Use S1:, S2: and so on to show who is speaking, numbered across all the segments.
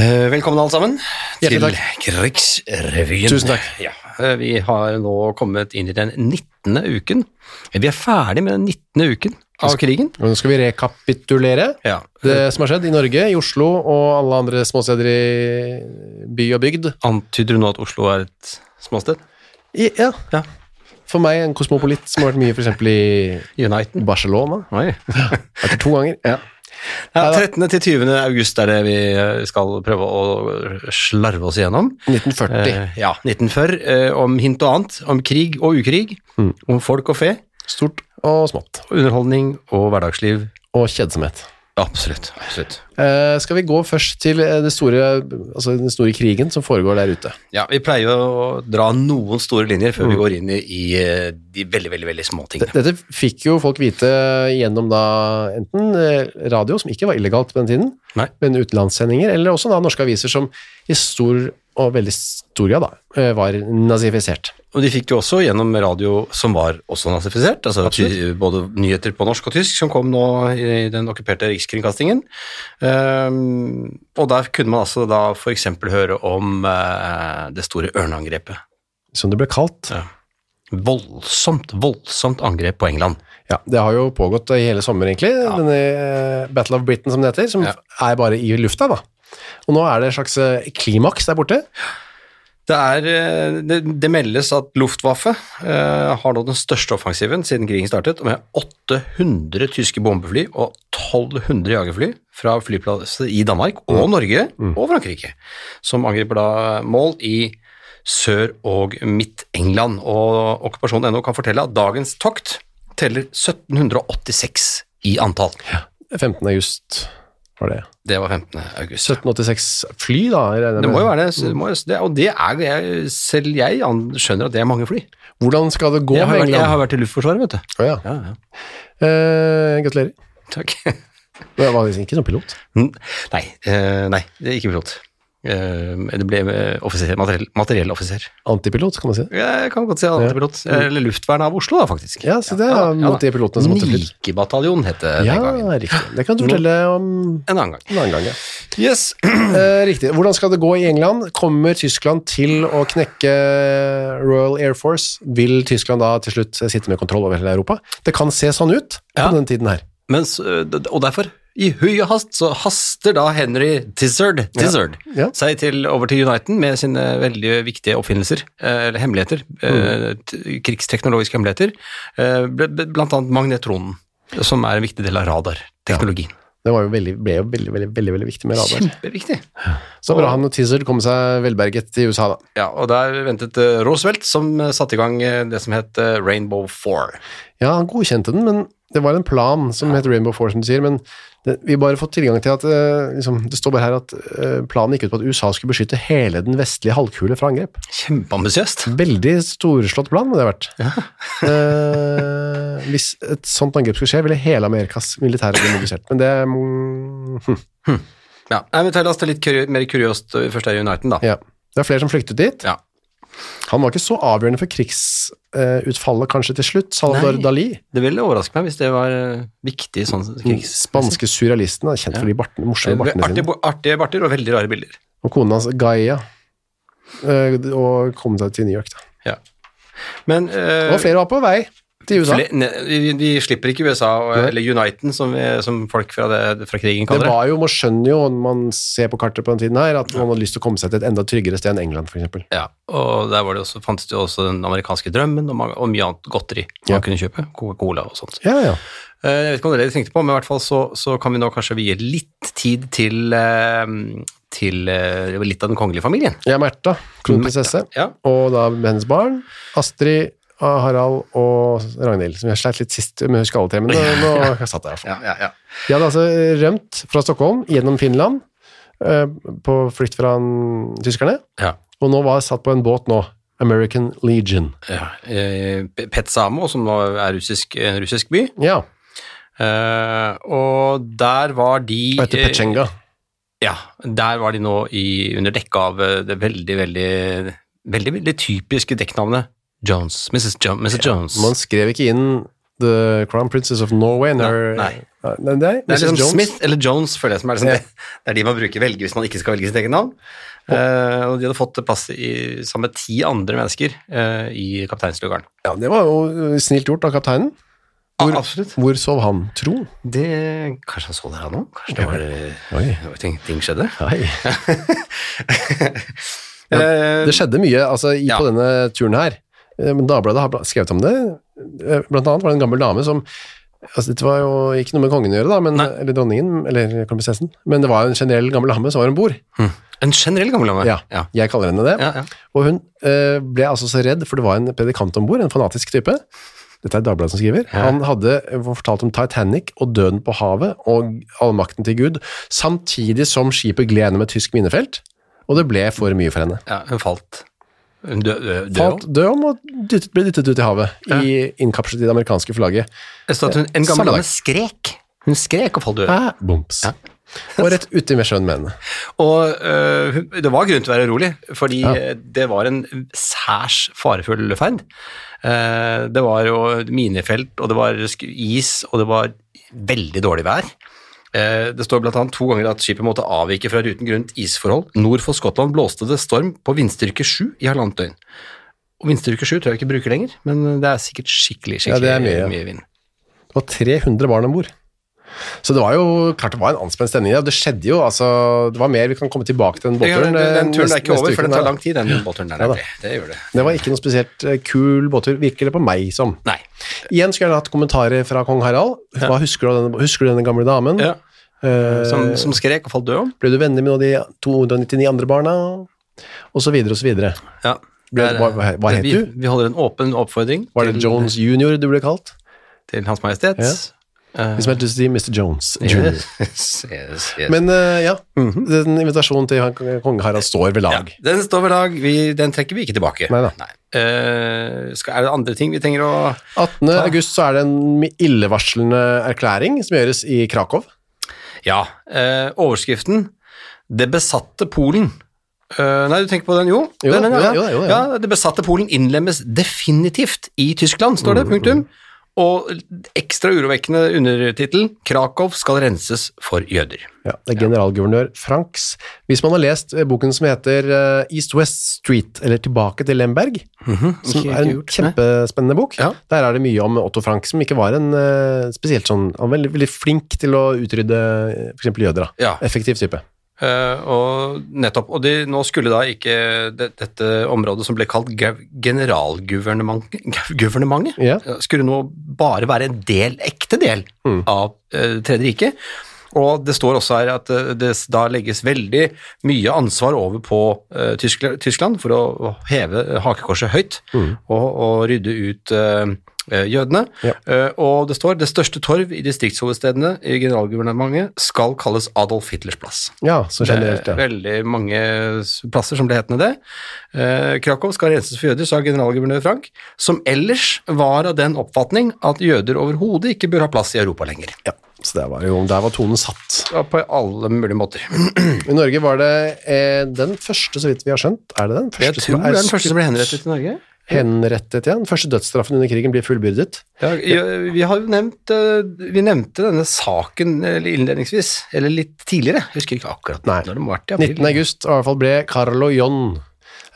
S1: Eh, Velkommen alle sammen til
S2: Hjertelig
S1: Krigsrevyen.
S2: Tusen takk.
S1: Ja, eh, vi har nå kommet inn i den 19. uken. Eh, Vi er ferdig med den 19. uken av krigen.
S2: Og nå skal vi rekapitulere
S1: Ja.
S2: det som har skjedd i Norge, i Oslo og alle andre småsteder i by og bygd.
S1: Antyder du nå at Oslo er et småsted?
S2: I, ja.
S1: Ja.
S2: For meg, en kosmopolit som har vært mye f.eks. i
S1: Uniten.
S2: Barcelona.
S1: Oi.
S2: Vært der to ganger.
S1: Ja, 13. til 20. august er det vi eh, skal prøve å slarve oss igjennom.
S2: 1940.
S1: Eh, ja, 1940. eh, om hint og annet. Om krig og ukrig.
S2: Mm.
S1: Om folk og fe.
S2: Stort og smått.
S1: Underholdning og hverdagsliv.
S2: Og kjedsomhet.
S1: Absolutt. absolutt.
S2: Eh, skal vi gå først til eh, det store, altså den store krigen som foregår der ute?
S1: Ja, vi pleier jo å dra noen store linjer før vi går inn i, i eh, de veldig, veldig veldig små tingene.
S2: Dette fikk jo folk vite gjennom da enten eh, radio, som ikke var illegalt på den tiden,
S1: Nei.
S2: men utenlandssendinger, eller også da norske aviser som i stor og veldig stor grad da, eh, var nazifisert.
S1: Og de fikk det jo også gjennom radio som var også nazifisert, altså
S2: Absolutt.
S1: ty- både nyheter på norsk og tysk som kom nå i den okkuperte rikskringkastingen. Ehm, og der kunne man altså da f.eks. høre om eh, det store ørneangrepet.
S2: Som det ble kalt.
S1: Voldsomt, voldsomt angrep på England.
S2: Ja, det har jo pågått i hele sommer egentlig, denne eh, Battle of Britain som det heter, som
S1: Ja.
S2: er bare i lufta da. Og nå er det en slags eh, klimaks der borte.
S1: Det, er, eh, det, det meldes at Luftwaffe eh, har nå den største offensiven siden krigen startet, med 800 tyske bombefly og 1200 jagerfly fra flyplasser i Danmark og Norge og Frankrike, som angriper da mål i Sør- og Midt-England. Og Okkupasjon.no kan fortelle at dagens tokt teller 1786 i antall.
S2: 15. august var det.
S1: Det var 15. august.
S2: 1786 fly da, jeg regner
S1: Det
S2: med.
S1: må jo være det, det må, jo- det, og det er, jeg, selv jeg an- skjønner at det er mange fly.
S2: Hvordan skal det gå
S1: Jeg har,
S2: med
S1: vært, jeg
S2: England?
S1: har vært i Luftforsvaret, vet du.
S2: Å ja. Eh, gratulerer.
S1: Takk.
S2: Men Jeg var liksom ikke noen pilot.
S1: Nei, eh, nei, det er ikke pilot. Eh, det ble eh, offiser, materiell, materielloffiser.
S2: Antipilot, kan man si.
S1: Jeg kan godt si antipilot. Eh, Eller luftvern av Oslo, da, faktisk.
S2: Ja, så det er
S1: da,
S2: mot de pilotene som måtte fly.
S1: Nikebataljon het det
S2: Ja,
S1: den gangen.
S2: riktig. Det kan du fortelle om
S1: En annen gang.
S2: en annen gang. Ja.
S1: Yes.
S2: Eh, riktig. Hvordan skal det gå i England? Kommer Tyskland til å knekke Royal Air Force? Vil Tyskland da til slutt sitte med kontroll over hele Europa? Det kan se sånn ut på
S1: Ja.
S2: denne tiden her.
S1: Mens, eh, d- og derfor, i hui og hast, så haster da Henry Tizzard, Tizzard
S2: Ja.
S1: seg til, over til Uniten med sine veldig viktige oppfinnelser, eh, eller hemmeligheter, eh,
S2: Mm.
S1: t- krigsteknologiske hemmeligheter, eh, bl- bl- blant annet magnetronen, som er en viktig del av radarteknologien.
S2: Det var jo veldig, ble jo veldig, veldig, veldig, veldig viktig med radar.
S1: Kjempeviktig.
S2: Så bra han og Tizzard kom seg velberget til USA, da.
S1: Ja, og der ventet eh, Roosevelt, som eh, satte i gang eh, det som het eh, Rainbow Four.
S2: Ja, han godkjente den, men det var en plan som heter Rainbow Four, som du sier, men det, vi har bare fått tilgang til at eh, liksom, det står bare her at eh, planen gikk ut på at USA skulle beskytte hele den vestlige halvkule fra angrep.
S1: Kjempeambisiøst.
S2: Veldig storslått plan må det ha vært. Eh, hvis et sånt angrep skulle skje, ville hele Amerikas militære bli mobilisert, men det mm, hm,
S1: Ja, Nei, men tell oss det litt kuri mer kuriøst eh, først er i Uniten, da.
S2: ja. Det er flere som flyktet dit.
S1: Ja.
S2: Han var ikke så avgjørende for krigsutfallet, eh, kanskje, til slutt. Salvador
S1: Nei.
S2: Dali.
S1: Det ville overraske meg hvis det var eh, viktig sånn
S2: Den
S1: krigs...
S2: spanske surrealisten, er kjent for de bartene, morsomme bartene sine.
S1: Artige, bo- artige barter og veldig rare bilder.
S2: Og kona hans, Gaia, eh, og kom seg til New York. Da.
S1: Ja. Men eh,
S2: Og flere var på vei til USA.
S1: fle- ne, vi, vi slipper ikke USA, og-
S2: Nei.
S1: eller Uniten, som, vi- som folk fra, det, fra krigen
S2: Det
S1: kaller det.
S2: var jo, Man skjønner jo når man ser på kartet på den tiden her, at man hadde lyst til å komme seg til et enda tryggere sted enn England, f.eks.
S1: Ja, og der var det også, fantes det jo også den amerikanske drømmen og, mange, og mye annet godteri man
S2: Ja.
S1: kunne kjøpe. Coca-Cola og sånt.
S2: Ja, ja.
S1: Eh, Jeg vet ikke om dere tenkte på, men i hvert fall så, så kan vi nå kanskje vie litt tid til, eh, til eh, litt av den kongelige familien.
S2: Jeg er Märtha, kronprinsesse,
S1: Ja.
S2: og da hennes barn, Astrid, ah, Harald og Ragnhild, som jeg sleit litt sist med å huske alle tre, men nå, nå satt jeg i hvert fall.
S1: Ja, ja, ja.
S2: De hadde altså rømt fra Stockholm gjennom Finland, eh, på flukt fra mm, tyskerne,
S1: ja.
S2: Og nå var jeg satt på en båt nå. American Legion.
S1: Ja. eh, P- Petsamo, som nå er russisk, en russisk by.
S2: Ja,
S1: Eh, og der var de
S2: og etter
S1: eh,
S2: Petsjenga.
S1: Ja, der var de nå i, under dekke av eh, det veldig, veldig, veldig, veldig typiske dekknavnet Jones. Mrs. Jo Mrs. Jones.
S2: Man skrev ikke inn The Crown Princess of Norway. and her-
S1: nei.
S2: Nei, nei,
S1: det er
S2: Mrs.
S1: liksom
S2: Jones.
S1: Smith eller Jones, føler jeg som er liksom
S2: Ja.
S1: det. Det er de man bruker velge hvis man ikke skal velge sitt eget navn. Eh, og de hadde fått plass i, sammen med ti andre mennesker eh, i kapteinslugaren.
S2: Ja, det var jo eh, snilt gjort av kapteinen. Hvor-
S1: Ah, absolutt.
S2: Hvor sov han, tro?
S1: Det, kanskje han så dere nå? Kanskje det var, eh, det
S2: Oi.
S1: var ting, ting skjedde?
S2: Nei.
S1: Eh,
S2: Det skjedde mye altså, i,
S1: Ja.
S2: på denne turen her. Eh, Men Dagbladet har bla- skrevet om det. Eh, Blant annet var det en gammel dame som altså Dette var jo ikke noe med kongen å gjøre, da, men,
S1: Nei.
S2: eller dronningen, eller kronprinsessen, men det var en generell gammel dame som var om bord.
S1: hm. En generell gammel dame?
S2: Mm. Ja.
S1: Ja.
S2: Jeg kaller henne det.
S1: Ja, ja.
S2: Og hun eh, ble altså så redd, for det var en predikant om bord, en fanatisk type. Dette er Dagbladet som skriver.
S1: Ja.
S2: Han hadde eh, fortalt om Titanic og døden på havet og allmakten til Gud, samtidig som skipet gled gjennom et tysk minefelt, og det ble for mye for henne.
S1: ja hun falt. Hun dø, dø, dø,
S2: falt død om og dyttet, ble dyttet ut i havet, i, innkapslet i det amerikanske flagget.
S1: Det står at hun, en
S2: Samme
S1: gammel dame
S2: dag.
S1: skrek. Hun skrek og falt død.
S2: Ah, Bumps. og rett uti med sjøen med henne.
S1: Og øh, hun- det var grunn til å være urolig, fordi
S2: Ja.
S1: eh, det var en særs farefull ferd. Eh, det var jo minefelt, og det var sk- is, og det var veldig dårlig vær. Eh, Det står bl.a. to ganger at skipet måtte avvike fra ruten grunnet isforhold. Nord for Skottland blåste det storm på vindstyrke 7 i halvannet døgn. Og vindstyrke 7 tror jeg ikke bruker lenger, men det er sikkert skikkelig
S2: Ja,
S1: skikkelig
S2: det er mye, ja.
S1: mye vind.
S2: Det var 300 barn om bord. Så det var jo klart det var en anspent stemning. Ja. Det skjedde jo, altså Det var mer. Vi kan komme tilbake til den
S1: Den,
S2: båtturen. eh,
S1: den turen er
S2: neste-
S1: ikke
S2: neste
S1: over,
S2: uke,
S1: for den
S2: nei.
S1: tar lang tid, den båtturen der.
S2: Ja da.
S1: nemlig. Det gjør det.
S2: Det var ikke noe spesielt eh, kul båttur, virker det på meg som.
S1: Nei.
S2: Igjen skulle jeg gjerne hatt kommentarer fra kong Harald. Hva husker du av denne, husker du denne gamle damen?
S1: Ja.
S2: Eh,
S1: Som, som skrek og falt død om.
S2: Ble du venner med noen av de 299 andre barna? Og så videre og så videre.
S1: Ja.
S2: Ble,
S1: Det er-
S2: hva, hva- hva het
S1: vi,
S2: du?
S1: Vi holder en åpen oppfordring
S2: Var det
S1: til,
S2: Jones junior du ble kalt?
S1: til Hans Majestet. Eh,
S2: Hvis man helst sier Mr. Jones junior.
S1: yes, Mhm. yes, yes.
S2: Men eh, ja, den invitasjonen til han- kong Harald står ved
S1: ja,
S2: lag.
S1: den står ved lag. Vi, den trekker vi ikke tilbake.
S2: Neida.
S1: Eh, skal, er det andre ting vi trenger å
S2: 18. august så er det en illevarslende erklæring som gjøres i Krakow.
S1: Ja. eh, overskriften 'Det besatte Polen'. Eh, nei, du tenker på den? Jo.
S2: Jo,
S1: den, den,
S2: jo,
S1: ja.
S2: jo, jo, jo.
S1: ja. Det besatte Polen innlemmes definitivt i Tyskland, står
S2: Mm,
S1: det. Punktum. Og ekstra urovekkende undertittel 'Krakow skal renses for jøder'.
S2: Ja, det er generalguvernør Franks. Hvis man har lest eh, boken som heter eh, East West Street, eller Tilbake til Lemberg, som
S1: Ikke- ikke
S2: er en
S1: gjort, nei.
S2: kjempespennende bok,
S1: Ja.
S2: der er det mye om Otto Frank, som ikke var en eh, spesielt sånn, han var veldig, veldig flink til å utrydde f.eks. jøder. Da.
S1: Ja.
S2: Effektiv type.
S1: Eh, og nettopp, og de, nå skulle da ikke det, dette området som ble kalt gav- generalguvernementet, gav- guvernementet,
S2: Ja.
S1: eh, skulle nå bare være en del, ekte del
S2: Mm.
S1: av eh, Tredje riket. Og det står også her at eh, det s- da legges veldig mye ansvar over på eh, Tyskla- Tyskland for å å heve hakekorset høyt og, og rydde ut eh, eh, jødene.
S2: Mm. Ja.
S1: Eh, og det står det største torv i distriktshovedstedene i generalguvernementet skal kalles Adolf Hitlers plass.
S2: Ja, så generelt,
S1: Det
S2: ja.
S1: er Eh, Veldig mange s- plasser som ble hetende det. Eh, Krakow skal renses for jøder, sa generalguvernør Frank, som ellers var av den oppfatning at jøder overhodet ikke bør ha plass i Europa lenger.
S2: ja. Så der var, jo, der var tonen satt.
S1: Ja, På alle mulige måter.
S2: I Norge var det eh, den første, så vidt vi har skjønt. Er det den første?
S1: Jeg tror
S2: som
S1: det er den første som ble henrettet i Norge.
S2: Henrettet, ja. Den første dødsstraffen under krigen blir fullbyrdet.
S1: Ja, jø- vi har jo nevnt eh, Vi nevnte denne saken eh, innledningsvis, eller litt tidligere. Jeg husker ikke akkurat
S2: Nei.
S1: når det må ha vært i
S2: 19. august i hvert fall ble Carlo John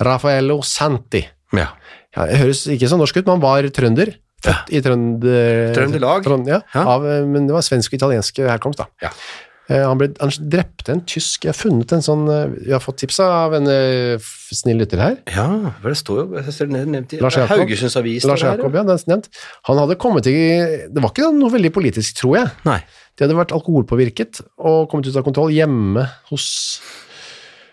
S2: Raffaello Santi.
S1: Ja.
S2: Ja, det høres ikke så norsk ut, men han var trønder. Født i Trønder...
S1: Trøndelag?
S2: Trond- ja,
S1: Ja.
S2: av, eh, men det var svensk og italiensk herkomst, da.
S1: Ja.
S2: Eh, Han, ble, han drepte en tysk Jeg har funnet en sånn eh, Jeg har fått tips av en eh, f- snill lytter her.
S1: ja, for det står jo jeg ser det er nevnt i
S2: Lars Jakob.
S1: Haugesunds Avis. står
S2: Lars
S1: det her,
S2: Jakob, ja. Den er nevnt. Han hadde kommet i Det var ikke noe veldig politisk, tror jeg.
S1: Nei.
S2: De hadde vært alkoholpåvirket og kommet ut av kontroll hjemme hos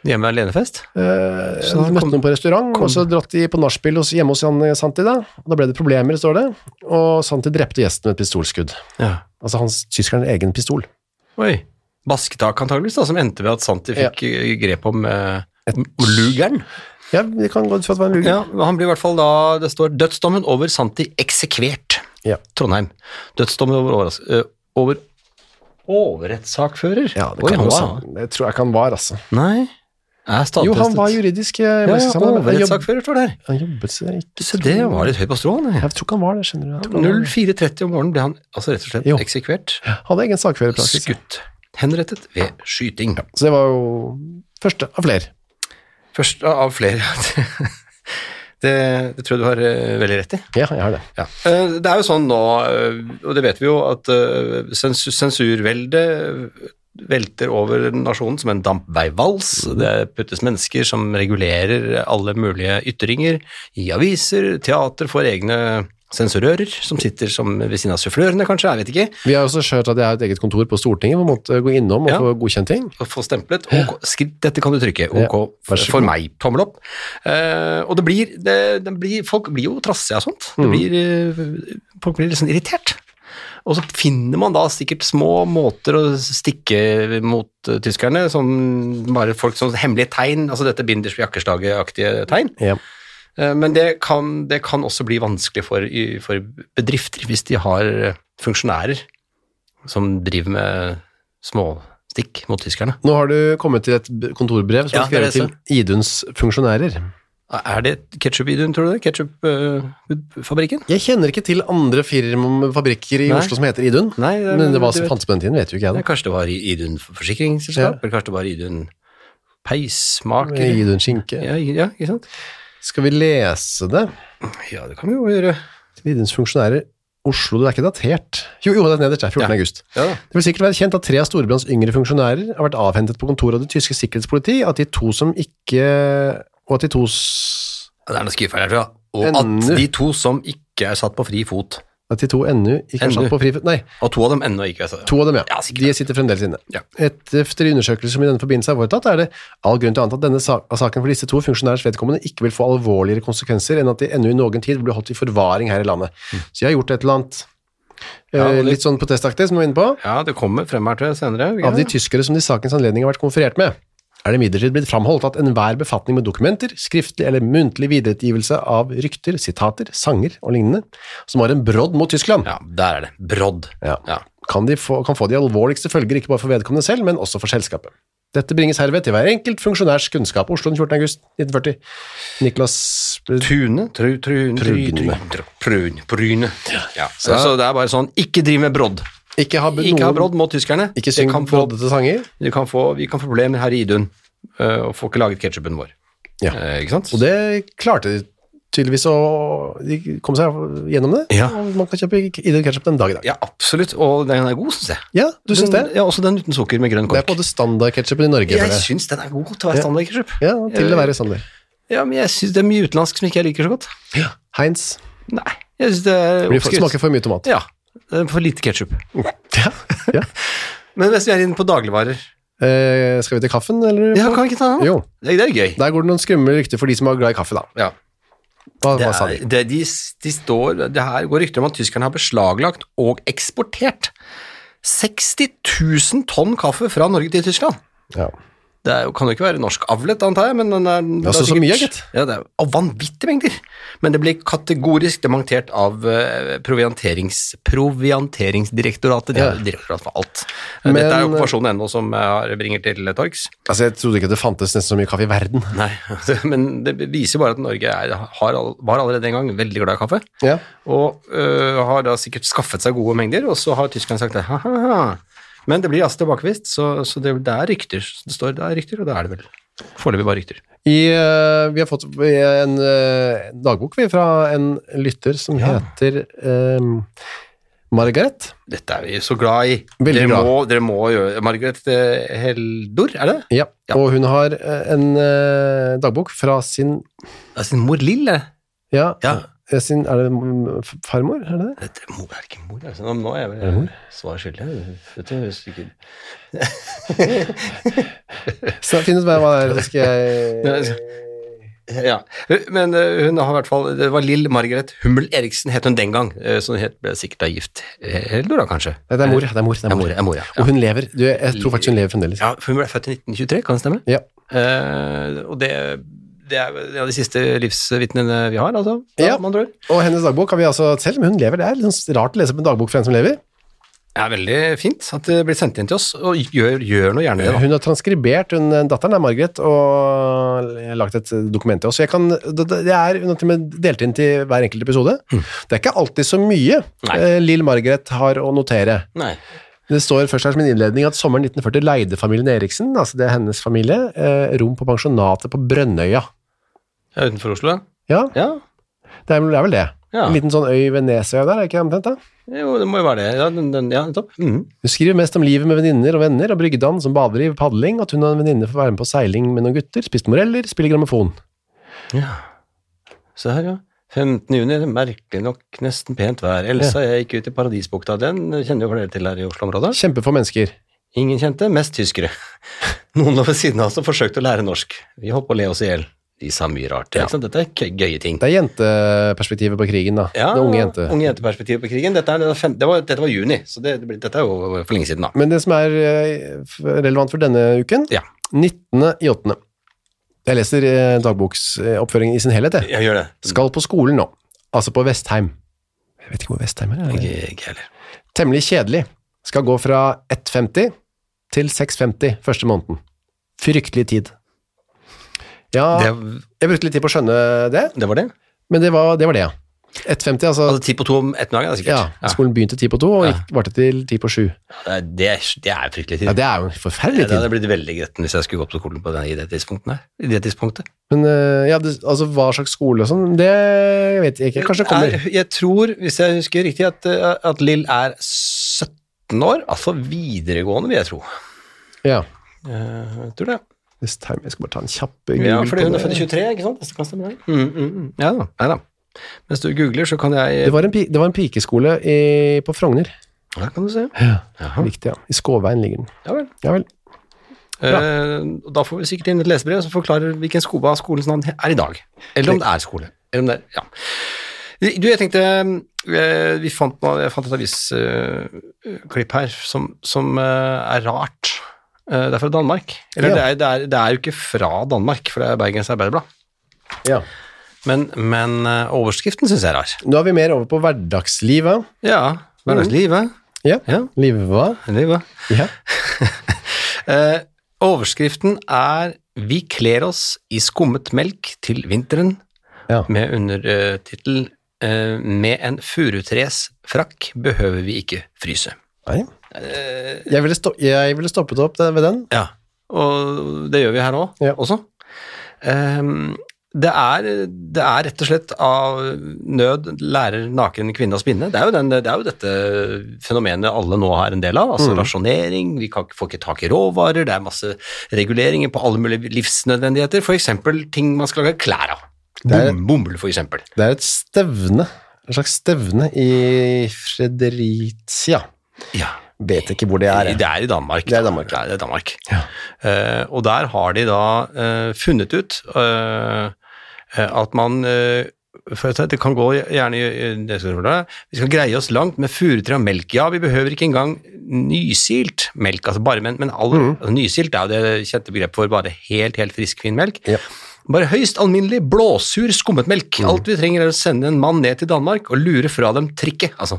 S1: Hjemme alenefest?
S2: Eh,
S1: Så da
S2: møtte
S1: kom-
S2: noen på restaurant, og så dratt de på nachspiel hos- hjemme hos Jan Santi. Da og da ble det problemer, står det. Og Santi drepte gjesten med et pistolskudd.
S1: Ja.
S2: Altså hans tyskerens egen pistol.
S1: Oi. Basketak antageligvis, da, som endte med at Santi fikk eh, grep om, eh, om lugeren.
S2: Ja, vi kan gå ut fra at det var en luring.
S1: Ja, men han blir i hvert fall da Det står 'dødsdommen over Santi eksekvert'.
S2: Ja.
S1: Trondheim. Dødsdommen over, overras- ø, over overrettssakfører.
S2: Ja, det
S1: Oi,
S2: kan
S1: han
S2: jo
S1: var-
S2: sa- Det tror jeg ikke han var, altså.
S1: Nei. Er stadfestet.
S2: Jo, han var juridisk eh,
S1: ja, ja,
S2: sammen, men han jobb-
S1: Overrettssakfører står der.
S2: Han jobbet seg ikke
S1: Så det var litt høyt på strålen. jeg.
S2: Jeg tror ikke han var det, skjønner du. Han-
S1: 04.30 om morgenen ble han altså rett og slett
S2: Jo.
S1: eksekvert.
S2: Hadde egen sakførerpraksis.
S1: Skutt. Henrettet ved skyting.
S2: Så det var jo første av flere.
S1: Først av flere. Det, det tror jeg du har eh, veldig rett i.
S2: Ja, jeg har det.
S1: Eh, Det er jo sånn nå, eh, og det vet vi jo, at eh, sens sensurveldet velter over nasjonen som en dampveivals. Det puttes mennesker som regulerer alle mulige ytringer i aviser, teater, får egne sensurører som sitter som ved siden av sufflørene, kanskje, jeg vet ikke,
S2: Vi har også skjørt at jeg har et eget kontor på Stortinget, hvor man måtte gå innom og
S1: Ja.
S2: få godkjent ting.
S1: og får stemplet. Ok, skriv, dette kan du trykke. Ok,
S2: vær så
S1: for
S2: god.
S1: meg. Tommel opp. Eh, og det blir, det, det blir Folk blir jo trassige av sånt.
S2: Mm.
S1: Det blir, eh, folk blir liksom irritert. Og så finner man da sikkert små måter å stikke mot eh, tyskerne, som bare folk som hemmelige tegn, altså dette binders jakkeslaget-aktige tegn.
S2: Ja.
S1: Eh, Men det kan, det kan også bli vanskelig for, i- for bedrifter hvis de har eh, funksjonærer som driver med småstikk mot tyskerne.
S2: Nå har du kommet til et b- kontorbrev som
S1: Ja,
S2: er skrevet
S1: det er
S2: til
S1: det.
S2: Iduns funksjonærer.
S1: Er det ketsjup-videoen, tror du det? Ketsjup-fabrikken?
S2: Jeg kjenner ikke til andre firmafabrikker i
S1: Nei.
S2: Oslo som heter Idun,
S1: Nei, det-
S2: men det var
S1: du
S2: som
S1: vet-
S2: fantes på den tiden, vet jo ikke
S1: Nei,
S2: jeg.
S1: kanskje det var i Idun forsikringsselskap, eller kanskje det var Idun
S2: da.
S1: peismaker?
S2: Idun skinke.
S1: Ja, i- ja, ikke sant?
S2: Skal vi lese det?
S1: Ja, det kan vi jo gjøre.
S2: Til Iduns funksjonærer, Oslo, det er ikke datert. Jo, jo, det er nederst, det er 14.
S1: Ja.
S2: august.
S1: Ja da.
S2: Det vil sikkert være kjent at tre av Storebrands yngre funksjonærer har vært avhentet på kontoret av det tyske sikkerhetspoliti, at de to som ikke og at de to, s-
S1: Det er noe skrivefeil her, tror jeg. Og at
S2: Ennå.
S1: de to som ikke er satt på fri fot,
S2: at de to ennå ikke er
S1: Ennå.
S2: satt på frifot Nei,
S1: og to av dem ennå ikke er satt
S2: to av dem, ja.
S1: Ja, sikkert.
S2: de sitter fremdeles inne.
S1: Ja.
S2: Etter undersøkelser som i denne forbindelse er foretatt, er det all grunn til å anta at denne sa- saken for disse to funksjonærers vedkommende ikke vil få alvorligere konsekvenser enn at de ennå i noen tid vil bli holdt i forvaring her i landet. Så jeg har gjort et eller annet
S1: Mm. Ja,
S2: eh,
S1: og de-
S2: litt sånn protestaktig, som vi var inne på.
S1: Ja, det kommer frem her til senere.
S2: Av de tyskere som det i sakens anledning har vært konferert med, er det imidlertid blitt framholdt at enhver befatning med dokumenter, skriftlig eller muntlig videreutgivelse av rykter, sitater, sanger og lignende, som har en brodd mot Tyskland,
S1: Ja, der er det. Brodd.
S2: Ja.
S1: Ja.
S2: kan, de få, kan få de alvorligste følger ikke bare for vedkommende selv, men også for selskapet. Dette bringes herved til hver enkelt funksjonærs kunnskap. Oslo den 14. august 1940. Niklas eh,
S1: Tune? Tru, tru,
S2: Prune.
S1: Prune. Prune. Ja. Så, det er bare sånn, ikke driv med brodd.
S2: Ikke ha b-
S1: Ikke ha
S2: noen-
S1: brodd mot tyskerne.
S2: Ikke
S1: Det
S2: syng
S1: kan få
S2: broddete sanger.
S1: Vi kan få, vi kan få problemer her i Idun, eh, og får ikke laget ketsjupen vår.
S2: Ja.
S1: Eh, ikke sant?
S2: Og det klarte de tydeligvis å De kom seg gjennom det.
S1: Ja.
S2: Og man kan kjøpe Idun ketchup den dag i dag.
S1: Ja, absolutt, og den er god, syns jeg.
S2: Ja, du syns det?
S1: Den- Ja, Også den uten sukker med grønn
S2: Det er på
S1: kork.
S2: en måte standardketsjupen i Norge.
S1: Jeg
S2: føler jeg.
S1: syns den er god til å være standard ketsjup.
S2: Ja, til å være standard.
S1: Ja, men jeg syns det er mye utenlandsk som ikke jeg liker så godt.
S2: Heinz
S1: Nei, jeg syns det er
S2: blir for,
S1: oppskrytt.
S2: smaker for mye tomat.
S1: Ja, det er for lite ketsjup.
S2: Ja. Ja.
S1: Men hvis vi er inne på dagligvarer
S2: Eh, skal vi til kaffen, eller?
S1: Ja, kan vi ikke ta den? da?
S2: Jo.
S1: Det, det er gøy.
S2: Der går det noen skumle rykter for de som er glad i kaffe, da.
S1: Ja.
S2: Hva,
S1: Det
S2: hva sa de?
S1: er, det, de, de står, det her går rykter om at tyskerne har beslaglagt og eksportert 60 000 tonn kaffe fra Norge til Tyskland.
S2: Ja.
S1: Det er jo, kan jo ikke være norsk avlet, antar jeg, men den er, det
S2: så- så mye, gitt.
S1: Ja, det er og vanvittige mengder. Men det ble kategorisk dementert av eh, provianterings, provianteringsdirektoratet. De
S2: Ja.
S1: har direktorat for alt. Men, Dette er
S2: Men-
S1: okkupasjonen NO som jeg bringer til eh, torgs.
S2: Altså, jeg trodde ikke det fantes nesten så mye kaffe i verden.
S1: Nei, men det viser bare at Norge er, har, all- var allerede en gang veldig glad i kaffe.
S2: Ja.
S1: Og øh, har da sikkert skaffet seg gode mengder, og så har tyskerne sagt det. Ha-ha-ha. Men det blir altså tilbakevist, så, så det, det er rykter. Det står det er rykter, og det er det vel. Foreløpig bare rykter.
S2: I, eh, vi har fått en eh, dagbok vi, fra en lytter som heter eh, Margaret.
S1: Dette er vi så glad i.
S2: Veldig
S1: dere,
S2: glad.
S1: Må, dere må gjøre Margaret eh, Heldor, er det?
S2: Ja.
S1: Ja.
S2: Og hun har eh, en eh, dagbok fra sin
S1: Det er sin Altså, mor Lille.
S2: Ja,
S1: Ja.
S2: eh, sin, er det mm, f- farmor? Er det det?
S1: Dette er mor, er det ikke mor? Altså, nå- nå er jeg
S2: det mor?
S1: vel eh, svar skyldig. Dette høres ikke
S2: Så finn ut hva hva det er, så skal jeg
S1: Ja, men eh, hun har i hvert fall Det var Lill Margaret Hummel Eriksen, het hun den gang. eh, Så hun het, ble sikkert da gift. Eh, Heldor, da, kanskje?
S2: Nei, det er mor, det er mor. Det
S1: Det er
S2: er
S1: mor,
S2: mor.
S1: det er mor ja.
S2: Og hun lever. Du, jeg tror faktisk hun lever fremdeles.
S1: Ja, for hun ble født i 1923, kan det stemme?
S2: Ja.
S1: Eh, og det, det er ja, de siste livsvitnene vi har, altså.
S2: Ja.
S1: med andre ord.
S2: Og hennes dagbok har vi altså, selv om hun lever, det er litt sånn rart å lese opp en dagbok for en som lever.
S1: Det er veldig fint at det blir sendt inn til oss, og gjør, gjør noe gjerne det. da.
S2: Hun har transkribert, hun, eh, datteren er Margaret, og lagt et dokument til oss. Så Jeg kan, det, det er, hun har til og med delt inn til hver enkelt episode. Det er ikke alltid så mye
S1: Mm. Nei.
S2: eh, Lill Margaret har å notere.
S1: Nei.
S2: Det står først her som en innledning at sommeren 1940 leide familien Eriksen, altså det er hennes familie, eh, rom på pensjonatet på Brønnøya.
S1: Ja, utenfor Oslo,
S2: Ja,
S1: ja.
S2: det er, vel- det er vel det.
S1: Ja.
S2: En liten sånn øy ved Nesøya der, er det ikke omtrent da?
S1: Jo, det må jo være det. Ja, den, den, ja nettopp. Mhm.
S2: Hun skriver mest om livet med venninner og venner, og bryggedans som badeliv, padling, og at hun og en venninne får være med på seiling med noen gutter, spist moreller, spiller grammofon.
S1: Ja. Se her, ja. 15. juni, merkelig nok nesten pent vær. Elsa og jeg gikk ut i Paradisbukta. Den kjenner jo flere til her i Oslo-området.
S2: Kjempe for mennesker.
S1: Ingen kjente, mest tyskere. Noen lå ved siden av oss og forsøkte å lære norsk. Vi holdt på å le oss i hjel. De sa mye rart. Ikke sant? Dette er gøy- gøye ting.
S2: Det er jenteperspektivet på krigen, da.
S1: Ja,
S2: det unge jente.
S1: jenteperspektivet på krigen. Dette, er, det, fem, det var, dette var juni, så det, det, blir- dette er jo for lenge siden, da.
S2: Men det som er eh, f- relevant for denne uken,
S1: Ja.
S2: 19. i 8. Jeg leser eh, dagboksoppføringen i sin helhet, jeg.
S1: Jeg gjør det.
S2: Skal på skolen nå. Altså på Vestheim. Jeg vet ikke hvor Vestheim er. er. det-
S1: Ikke ikke heller.
S2: Temmelig kjedelig. Skal gå fra 1,50 til 6,50 første måneden. Fryktelig tid. Ja,
S1: Det,
S2: jeg brukte litt tid på å skjønne det,
S1: det var det?
S2: men det var det, var det ja. 1,50, altså,
S1: Altså ti på to om ettermiddagen, da,
S2: ja,
S1: sikkert. Ja.
S2: skolen begynte ti på to, og
S1: Ja.
S2: gikk, varte til ti på sju.
S1: Det, er- det, er- det er fryktelig tid.
S2: Ja, det er jo en forferdelig
S1: Ja, det
S2: tid.
S1: hadde blitt veldig gretten hvis jeg skulle gå på skolen på den, i det tidspunktet. Her. I det tidspunktet.
S2: Men eh, ja, det, altså hva slags skole og sånn, det vet jeg ikke. Kanskje det kommer.
S1: Jeg, jeg tror, hvis jeg husker riktig, at, eh, at Lill er 17 år. Altså videregående, vil jeg tro.
S2: Ja.
S1: Eh, Jeg tror det.
S2: This time, jeg skal bare ta en kjapp Google
S1: Ja, fordi hun er født i
S2: det.
S1: 23, ikke sant? Hvis det kan stemme det. Mm, mm, mm. Ja da. Nei da. Mens du googler, så kan jeg
S2: Det var en, pi- det var en pikeskole i, på Frogner.
S1: Ja, kan du se. Jaha.
S2: Riktig, ja. I Skåveien ligger den.
S1: Ja vel.
S2: Ja vel.
S1: Eh, og da får vi sikkert inn et lesebrev som forklarer hvilken skole av skolens navn er i dag. Eller om det er skole. Eller om det er, ja. Du, jeg tenkte eh, vi fant, noe- Jeg fant et avisklipp her som, som eh, er rart. Eh, Det er fra Danmark. Eller det,
S2: Ja.
S1: er, det, er, det er jo ikke fra Danmark, for det er Bergens Arbeiderblad.
S2: Ja.
S1: Men, men eh, overskriften syns jeg er rar. Mm.
S2: Nå er vi mer over på hverdagslivet.
S1: Ja. Hverdagslivet.
S2: Ja.
S1: Ja.
S2: Liva.
S1: Livet.
S2: Ja.
S1: Eh, overskriften er 'Vi kler oss i skummet melk til vinteren',
S2: Ja.
S1: med undertittel eh, 'Med en furutresfrakk behøver vi ikke fryse'.
S2: Nei.
S1: Eh,
S2: Jeg ville, sto jeg ville stoppet opp der ved den.
S1: Ja, og det gjør vi her òg,
S2: Ja.
S1: også. Ehm, det, er, det er rett og slett av nød lærer naken kvinne å spinne. Det er jo, den, det er jo dette fenomenet alle nå er en del av.
S2: Mm.
S1: Altså rasjonering, vi kan, får ikke tak i råvarer, det er masse reguleringer på alle mulige livsnødvendigheter. F.eks. ting man skal lage klær av.
S2: Det er-
S1: Bom, bomull, for eksempel.
S2: Det er et stevne. En slags stevne i Fredericia.
S1: Ja.
S2: Vet ikke hvor det er. jeg.
S1: Det er i Danmark.
S2: Det er
S1: da.
S2: Danmark,
S1: det er Danmark.
S2: Ja.
S1: Eh, og der har de da eh, funnet ut eh, at man eh, for å si det, det kan gå gjerne i- i- det skal jeg forklare. Vi skal greie oss langt med furutre og melk. Ja, vi behøver ikke engang nysilt melk, altså bare, men, men all,
S2: Mhm.
S1: altså, nysilt er jo det kjente begrepet for bare helt, helt frisk, fin melk.
S2: Ja. Mhm.
S1: Bare høyst alminnelig blåsur skummet melk. Alt vi trenger er å sende en mann ned til Danmark og lure fra dem trikket, altså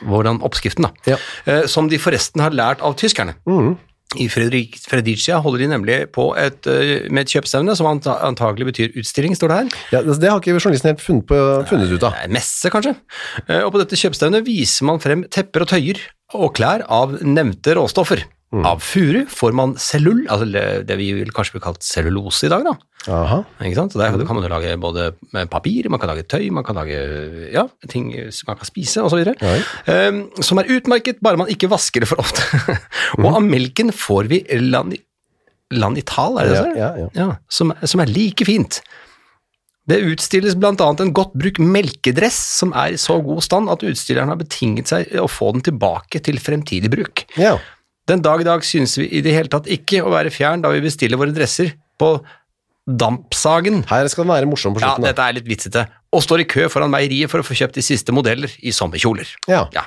S1: hvordan oppskriften da,
S2: Ja.
S1: eh, som de forresten har lært av tyskerne.
S2: Mhm.
S1: I Fredrik, Fredericia holder de nemlig på et, eh, med et kjøpstevne som anta, antagelig betyr utstilling, står det her.
S2: Ja, altså, det, det har ikke journalisten helt funnet, på, funnet ut av.
S1: Eh, Messe, kanskje. Eh, Og på dette kjøpstevnet viser man frem tepper og tøyer og klær av nevnte råstoffer. Av furu får man cellull, altså det det vi vil kanskje blir kalt cellulose i dag, da.
S2: Aha.
S1: Ikke sant? Så der kan man jo lage både med papir, man kan lage tøy, man kan lage ja, ting som man kan spise osv.
S2: Ja.
S1: Um, som er utmerket bare man ikke vasker det for ofte. og
S2: Mhm.
S1: av melken får vi lani, lanital, er det det
S2: Ja,
S1: står?
S2: ja, ja.
S1: Ja, som, som er like fint. Det utstilles bl.a. en godt brukt melkedress som er i så god stand at utstilleren har betinget seg å få den tilbake til fremtidig bruk.
S2: ja.
S1: Den dag i dag synes vi i det hele tatt ikke å være fjern da vi bestiller våre dresser på Dampsagen.
S2: Her skal den være morsom på
S1: Ja,
S2: slutten. da.
S1: dette er litt vitsete. Og står i kø foran meieriet for å få kjøpt de siste modeller i sommerkjoler.
S2: Ja.
S1: Ja.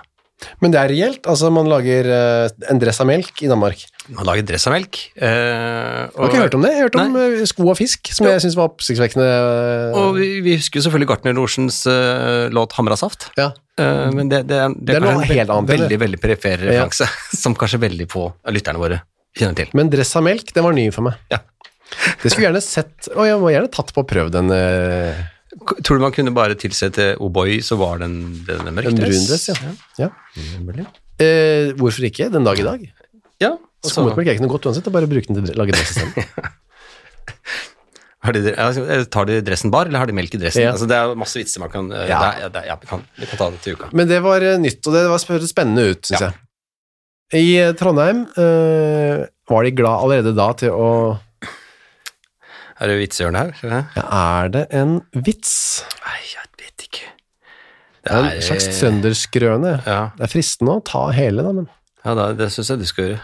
S2: Men det er reelt. Altså, man lager eh, en dress av melk i Danmark.
S1: Man lager dress av melk. eh,
S2: Jeg har ikke hørt om det. Jeg har hørt om
S1: Nei.
S2: eh, sko av fisk, som jeg syns var oppsiktsvekkende. eh,
S1: Og vi, vi husker jo selvfølgelig Gartner Lorsens eh, låt 'Hamra saft'.
S2: Ja.
S1: Eh, men det, det, er- det,
S2: Det er
S1: kanskje
S2: noe
S1: en ve-
S2: Mm. helt annet,
S1: veldig,
S2: eller?
S1: veldig, perifer referanse, som kanskje veldig få av lytterne våre kjenner til.
S2: Men dress av melk, den var ny for meg.
S1: Ja.
S2: Det skulle jeg gjerne sett, og jeg var gjerne tatt på og prøvd den, eh,
S1: K- Tror du man kunne bare tilsette O'boy, så var den, den, den mørk
S2: den brun dress. Ja. Ja. Eh, hvorfor ikke den dag i dag?
S1: Ja, og så
S2: Skometmelk er ikke noe godt uansett, det er bare å bruke den til å lage dress isteden.
S1: har de, ja, altså, eh, Tar de dressen bar, eller har de melk i dressen?
S2: Ja.
S1: Altså, det er masse vitser man kan eh,
S2: Ja.
S1: det er- ja, det er- ja, vi, kan, vi kan ta det til uka.
S2: Men det var eh, nytt, og det var sp- hørtes spennende ut, syns
S1: Ja.
S2: jeg. I eh, Trondheim eh, var de glad allerede da til å
S1: Er det vitsehjørnet her? Skal vi se.
S2: ja, Er det en vits?
S1: Nei, jeg vet ikke.
S2: Det er en slags trønderskrøne.
S1: Ja,
S2: Det er fristende å ta hele, da, men
S1: ja da, det syns jeg du skal gjøre.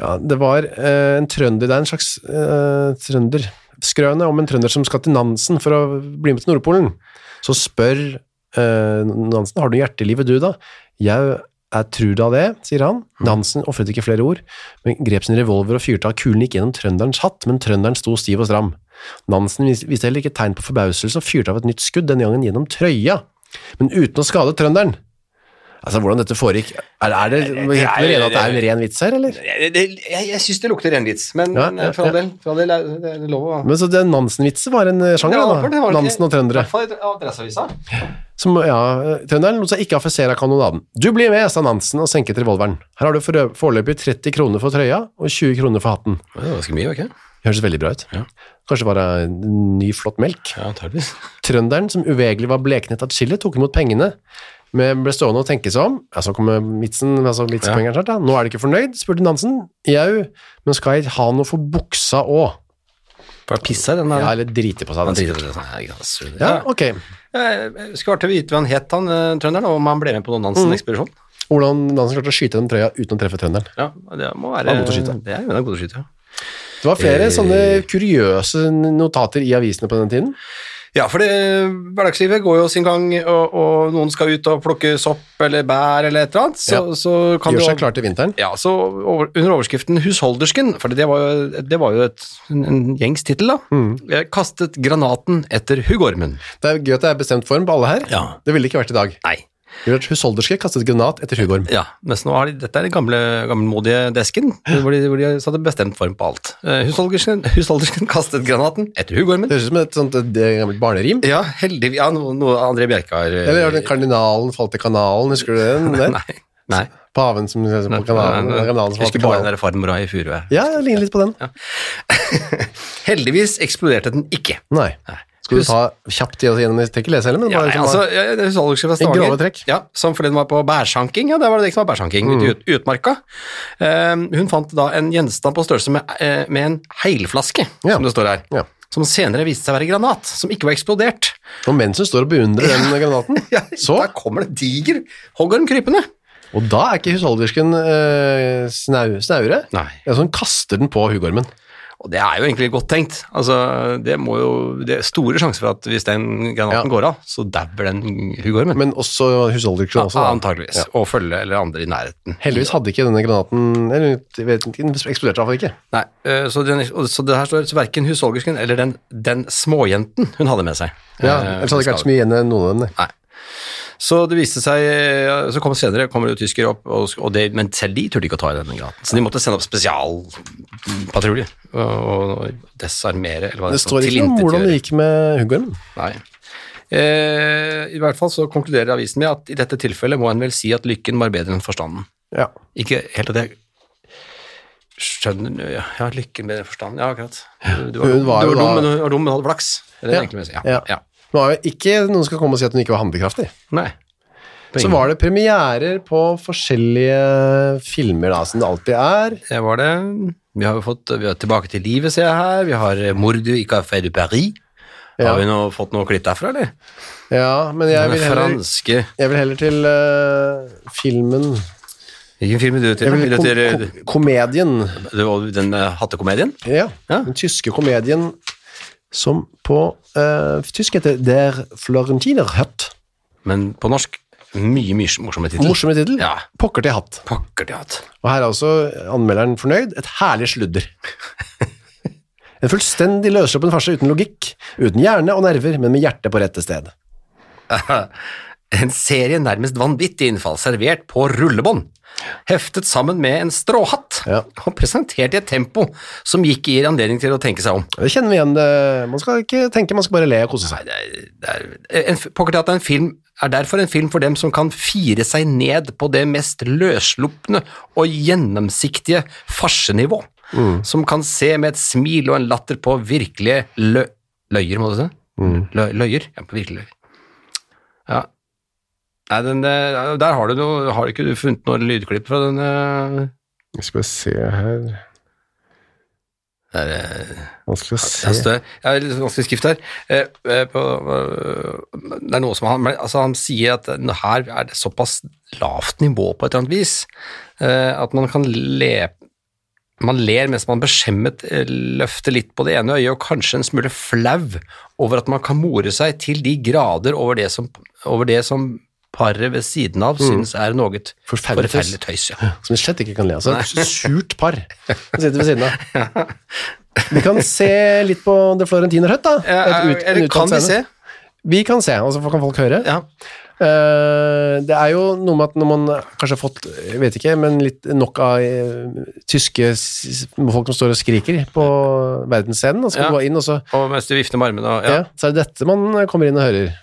S2: Ja, det var eh, en trønder, det er en slags eh, trønder, skrøne om en trønder som skal til Nansen for å bli med til Nordpolen. Så spør eh, Nansen, har du hjertelivet du da? Jeg, jeg tror da det, sier han. Nansen offret ikke flere ord, men grep sin revolver og fyrte av. Kulen gikk gjennom trønderens hatt, men trønderen sto stiv og stram. Nansen vis- viste heller ikke tegn på forbauselse og fyrte av et nytt skudd, denne gangen gjennom trøya, men uten å skade trønderen. Altså, hvordan dette foregikk, er, er det,
S1: det er-
S2: helt enig at det er en ren vits her, eller?
S1: Jeg, jeg, jeg syns det lukter ren vits, men
S2: Ja,
S1: men, eh,
S2: ja,
S1: for all
S2: ja.
S1: del, for all del er det er lov å
S2: Men så det Nansen-vitser var en eh, sjanger,
S1: Ja, for det
S2: da.
S1: var det.
S2: Nansen og
S1: I
S2: trøndere.
S1: hvert fall i Adresseavisa.
S2: Som, ja, eh, trønderen lot seg ikke affisere av kanonaden. Du blir med, sa Nansen og senket revolveren. Her har du forø- foreløpig 30 kroner for trøya og 20 kroner for hatten.
S1: Det var ganske mye, var det ikke?
S2: Det Høres veldig bra ut.
S1: Ja.
S2: Kanskje det var eh, ny, flott melk.
S1: Ja, antageligvis.
S2: Trønderen, som uvegerlig var bleknet av chili, tok imot pengene, men ble stående og tenke seg om. Ja, så kommer vitsen, altså vitspoengeren snart, da. Nå er du ikke fornøyd, spurte Nansen. Jau, men skal jeg ha noe for buksa òg?
S1: Bare pissa i den
S2: Ja,
S1: der.
S2: eller drite på seg.
S1: Han
S2: da.
S1: driter i det, sånn, ja, ikke sant,
S2: Ja,
S1: ja.
S2: ok.
S1: Jeg Skulle vært til å vite hva han het, han eh, trønderen, og om han ble med på noen
S2: Mm.
S1: Nansen-ekspedisjon.
S2: Hvordan Nansen klarte å skyte den trøya uten å treffe trønderen.
S1: Ja, det må være
S2: Han er god til å skyte.
S1: Det er, han er god til å skyte, ja.
S2: Det var flere
S1: Eh.
S2: sånne kuriøse notater i avisene på den tiden.
S1: Ja, for det, hverdagslivet går jo sin gang, og, og noen skal ut og plukke sopp eller bær eller et eller annet, så,
S2: Ja.
S1: så kan
S2: Gjør
S1: du
S2: seg klar til vinteren.
S1: Ja, så over, under overskriften 'Husholdersken', for det var jo, det var jo et, en, en gjengs tittel, da.
S2: Mm.
S1: Jeg Kastet granaten etter huggormen.
S2: Det er gøy at det er bestemt form på alle her.
S1: Ja.
S2: Det ville ikke vært i dag.
S1: Nei.
S2: Det ville vært husholderske kastet granat etter huggorm.
S1: Ja, mens nå har de, dette er den gamle, gammelmodige desken, hvor de, hvor de hadde bestemt form på alt. Eh, Husholdersken, husholdersken kastet granaten etter huggormen.
S2: Det høres ut som et sånt eh, det er gammelt barnerim.
S1: Ja, heldigvis. Ja, noe, noe André Bjerke har eh,
S2: Eller har den kardinalen falt i kanalen, husker du den? den?
S1: Nei. nei.
S2: Paven som som på kanalen,
S1: Jeg
S2: kanalen som falt i
S1: Husker bare den
S2: kanalen.
S1: der farmora i Furue.
S2: Ja, det ligner litt på den.
S1: Heldigvis eksploderte den ikke.
S2: Nei.
S1: Nei.
S2: Skal du ta kjapt i oss gjennom, jeg tenker lese heller, men
S1: Ja,
S2: bare
S1: nei,
S2: sånn,
S1: altså, jeg, jeg husker Alexander fra
S2: I grove
S1: Stavanger.
S2: trekk.
S1: Ja, som forleden var på bærsanking. Ja, der var det de som var bærsanking
S2: Mm.
S1: ute i ut- utmarka. Eh, hun fant da en gjenstand på størrelse med, eh, med en heilflaske,
S2: Ja.
S1: som det står her.
S2: Ja.
S1: Som senere viste seg å være granat, som ikke var eksplodert.
S2: Og mens hun står og beundrer den granaten,
S1: altså- Ja,
S2: så,
S1: Da kommer det diger hoggorm krypende.
S2: og da er ikke husholdersken eh, snau, snaure,
S1: Nei.
S2: Ja, så hun kaster den på huggormen.
S1: Og det er jo egentlig godt tenkt. Altså, det, må jo, det er store sjanser for at hvis den granaten
S2: Ja.
S1: går av, så dauer den huggormen.
S2: Men også husholderkron
S1: Altså
S2: også. da.
S1: Antageligvis. Og følge eller andre i nærheten.
S2: Heldigvis hadde ikke denne granaten eller, jeg vet ikke, Den eksploderte i hvert fall ikke.
S1: Nei, eh, så, den, og- så det her står så verken husholdersken eller den, den småjenten hun hadde med seg.
S2: Ja,
S1: eh,
S2: ellers hadde det ikke vært så mye igjen av noen av dem. nei.
S1: Nei. Så det viste seg, eh, så kom senere kommer det jo tyskere opp, og, og det, men selv de turte ikke å ta i denne granaten. Så de måtte sende opp spesialpatruljer og, og desarmere. Eller hva
S2: Det
S1: står,
S2: står ikke om hvordan det gikk med huggormen.
S1: Nei. Eh, I hvert fall så konkluderer avisen med at i dette tilfellet må en vel si at lykken var bedre enn forstanden.
S2: Ja.
S1: Ikke helt at jeg skjønner Ja, ja lykken med den forstanden. Ja, akkurat. Du, du var,
S2: Hun
S1: dum,
S2: var
S1: du
S2: jo
S1: var
S2: da-
S1: dum, men du var dum, men hadde flaks. Det er det
S2: Ja,
S1: jeg egentlig vil si.
S2: ja.
S1: Ja. ja.
S2: Det var jo ikke noen som skal komme og si at hun ikke var handlekraftig.
S1: Nei.
S2: Så var det premierer på forskjellige filmer, da, som det alltid er.
S1: det var det. Vi har jo fått vi har Tilbake til livet, ser jeg her. Vi har eh, Mordu i Café du Paris.
S2: Ja.
S1: Har vi nå fått noe klipp derfra, eller?
S2: Ja, men jeg
S1: Den
S2: vil heller,
S1: franske
S2: jeg vil heller til eh, filmen
S1: Hvilken film vil du til?
S2: jeg vil,
S1: Vil du
S2: kom,
S1: til eh,
S2: kom, Komedien.
S1: det var den eh, hattekomedien?
S2: Ja,
S1: Ja.
S2: den tyske komedien som på eh, tysk heter Der Florentiner Hött.
S1: Men på norsk Mye, mye morsomme tittel.
S2: Morsomme tittel.
S1: Ja.
S2: Pokker til hatt.
S1: Pokker til hatt.
S2: Og her er også anmelderen fornøyd. Et herlig sludder. En fullstendig løssluppen farse uten logikk, uten hjerne og nerver, men med hjertet på rette sted.
S1: En serie nærmest vanvittig innfall, servert på rullebånd, heftet sammen med en stråhatt,
S2: Ja.
S1: og presentert i et tempo som ikke gir anledning til å tenke seg om.
S2: Det kjenner vi igjen. det- Man skal ikke tenke, man skal bare le og kose seg.
S1: Det er, det er, en, pokker til hatt er, en film, er derfor en film for dem som kan fire seg ned på det mest løsslupne og gjennomsiktige farsenivå, som kan se med et smil og en latter på virkelige lø løyer, må du si?
S2: Mm.
S1: Lø løyer? Ja, på virkelige løyer. Ja. Nei, den, eh, der har du noe, har du ikke funnet noen lydklipp fra den? eh?
S2: Vi skal se her
S1: Det er, eh,
S2: Vanskelig å
S1: Det er større. Jeg har litt vanskelig skrift her. Eh, eh, på, eh, det er noe som han, men, altså han sier at eh, her er det såpass lavt nivå på et eller annet vis, eh, at man kan le man ler mens man beskjemmet eh, løfter litt på det ene øyet, og kanskje en smule flau over at man kan more seg til de grader over det som, over det som paret ved siden av synes er noe
S2: Mm. Forferdelig
S1: forferdelig, tøys.
S2: tøys.
S1: Ja.
S2: Som vi slett ikke kan le av. Så et surt par som sitter ved siden av. Vi kan se litt på The Florentiner Hut, da. Et ut- en
S1: Eh, Eller
S2: uttalt
S1: kan vi se?
S2: scene. Vi kan se, og så kan folk høre.
S1: Ja.
S2: Eh, Det er jo noe med at når man kanskje har fått, jeg vet ikke, men litt nok av eh, tyske s- s- folk som står og skriker på verdensscenen, og så
S1: Ja.
S2: kan du gå inn, og så,
S1: Og mens du vifter med armene og
S2: ja. så er det dette man eh, kommer inn og hører.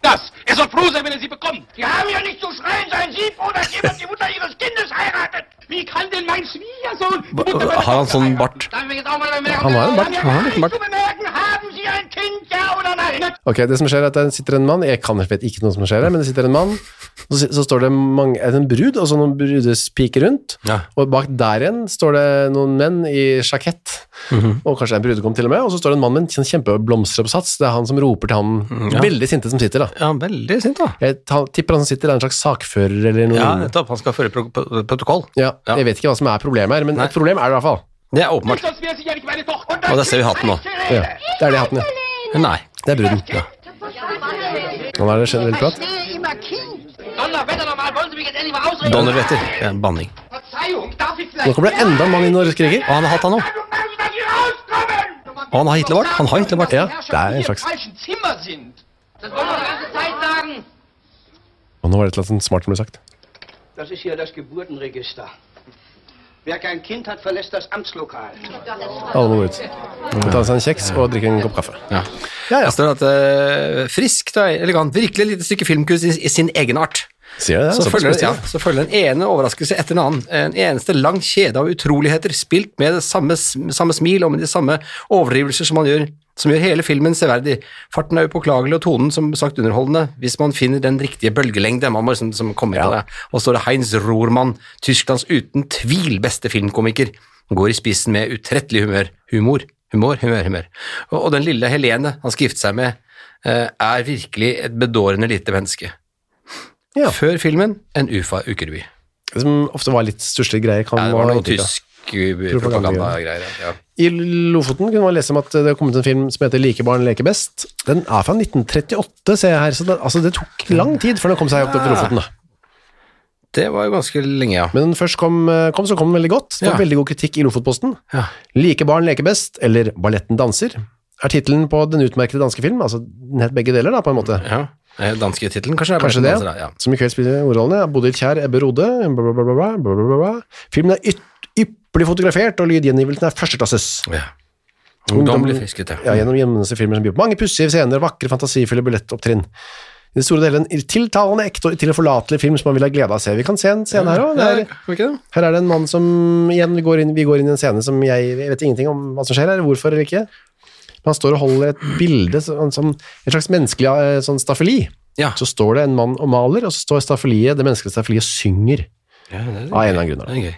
S3: Das! Er soll froh sein, wenn er sie bekommt! Sie haben ja nicht zu schreien, sein Sieb, oder jemand die Mutter ihres Kindes heiratet! Wie kann denn mein Schwiegersohn... die Mutter meiner
S1: Har han
S3: Tochter
S1: sånn
S3: heiraten?
S1: bart?
S3: Darf ich jetzt auch mal bemerken,
S2: Han har en bart.
S3: Sie
S1: Han har litt
S3: recht
S1: bart.
S3: Zu bemerken, haben Sie ein Kind, ja oder nein?
S2: Ok, det som skjer er at det sitter en mann, jeg kan, vet ikke noe som skjer her, men det sitter en mann, så, si- så står det mange, er det en brud, og så noen brudespiker rundt,
S1: Ja.
S2: og bak der igjen står det noen menn i sjakett,
S1: Mhm.
S2: og kanskje en brudekom til og med, og så står det en mann med en sånn kjempeblomsteroppsats, det er han som roper til han,
S1: Mm, ja.
S2: veldig sinte som sitter da.
S1: ja, veldig sint da.
S2: Jeg ta- tipper han som sitter er en slags sakfører eller noe.
S1: Ja,
S2: lignende.
S1: nettopp. Han skal føre pro pro- protokoll.
S2: Ja,
S1: Ja.
S2: Jeg vet ikke hva som er problemet her, men
S1: Nei.
S2: et problem er det i hvert fall.
S1: Det er
S3: Nicht,
S1: åpenbart.
S3: sonst wäre sie ja nicht meine Tochter.
S1: Oh, das ist ja wie Hatten noch.
S2: Ja. Det er det hatten, ja.
S1: Nei.
S2: Det er bruden. Ja. Nå er det generelt prat.
S4: Verstehe immer Kind.
S3: Donnerwetter nochmal, wollen Sie mich jetzt endlich mal ausreden?
S1: Donnerwetter. Ja, banning.
S3: Verzeihung, darf ich
S2: Nå
S3: vielleicht...
S2: kommer det enda en mann inn og skriker.
S1: Og han har hatt han òg.
S3: Du kannst nicht hier rauskommen!
S1: Og han har Hitlerbart. Han har Hitlerbart.
S2: Ja,
S3: Herrschaft,
S2: det er en
S3: die
S2: slags
S3: im falschen Zimmer sind. Das wollen wir die ganze Zeit sagen.
S2: Og nå var det et eller annet smart som ble sagt.
S5: Das ist hier das Geburtenregister. Wer kein Kind hat, verlässt das Amtslokal.
S2: Alle må gå ut. Ta seg en kjeks og drikke en kopp kaffe.
S1: Ja. Altså,
S2: Ja, ja.
S1: Det står at eh, friskt og elegant, virkelig et lite stykke filmkunst i, i sin egenart.
S2: Sier jeg det?
S1: Så
S2: Såpass
S1: følger, den- ja,
S2: bestemt.
S1: så følger den ene overraskelse etter den annen. En eneste lang kjede av utroligheter spilt med det samme, s- samme smil og med de samme overdrivelser som man gjør, som gjør hele filmen severdig. Farten er upåklagelig og tonen som sagt underholdende, hvis man finner den riktige bølgelengde. Man må liksom, liksom komme inn på
S2: Ja.
S1: det. Og så står det Heinz Rohrmann, Tysklands uten tvil beste filmkomiker. Går i spissen med utrettelig humør. Humor, humor, humør, humør. Og, og den lille Helene han skal gifte seg med, eh, er virkelig et bedårende lite menneske.
S2: Ja.
S1: Før filmen en ufa ukerevy.
S2: Det som ofte var litt stusslige greier. Kan
S1: Ja, det
S2: man
S1: var
S2: ha
S1: noe
S2: inntrykk av.
S1: tysk eh, propagandagreier. Ja.
S2: I Lofoten kunne man lese om at det har kommet en film som heter Like barn leker best. Den er fra 1938, ser jeg her, så det, altså, det tok lang tid før den kom seg opp til Lofoten. da.
S1: Det var jo ganske lenge, ja.
S2: Men den først kom, eh, kom så kom den veldig godt. Det var
S1: Ja.
S2: veldig god kritikk i Lofotposten.
S1: Ja.
S2: Like barn leker best, eller Balletten danser, er tittelen på den utmerkede danske film. Altså, den het begge deler, da, på en måte.
S1: ja. Eh, Danske tittelen, kanskje?
S2: Kanskje det,
S1: Berten Danser, ja.
S2: som i kveld spiller ordrollene. Bodil Kjær, Ebbe Rode, bla, bla, bla, bla, bla, bla, bla, bla. Filmen er yt- ypperlig fotografert, og lydgjengivelsen er førsteklasses.
S1: Ja. Ungdom blir frisket,
S2: Ja, gjennom gjennomgående filmer som byr på mange pussige scener, vakre, fantasifulle ballettopptrinn. I det store delen en tiltalende, ekte og tilforlatelig film som man vil ha glede av å se. Vi kan se en scene her òg.
S1: Ja, kan vi ikke det?
S2: Her er det en mann som igjen, vi går inn, vi går inn i en scene som jeg, jeg vet ingenting om hva som skjer her, hvorfor eller ikke. Men han står og holder et bilde, så- en, sånn, en slags menneskelig eh, sånn staffeli.
S1: Ja.
S2: Så står det en mann og maler, og så står staffeliet, det menneskelige staffeliet synger.
S1: Ja, det er
S2: Av en eller annen grunn.
S1: det er gøy.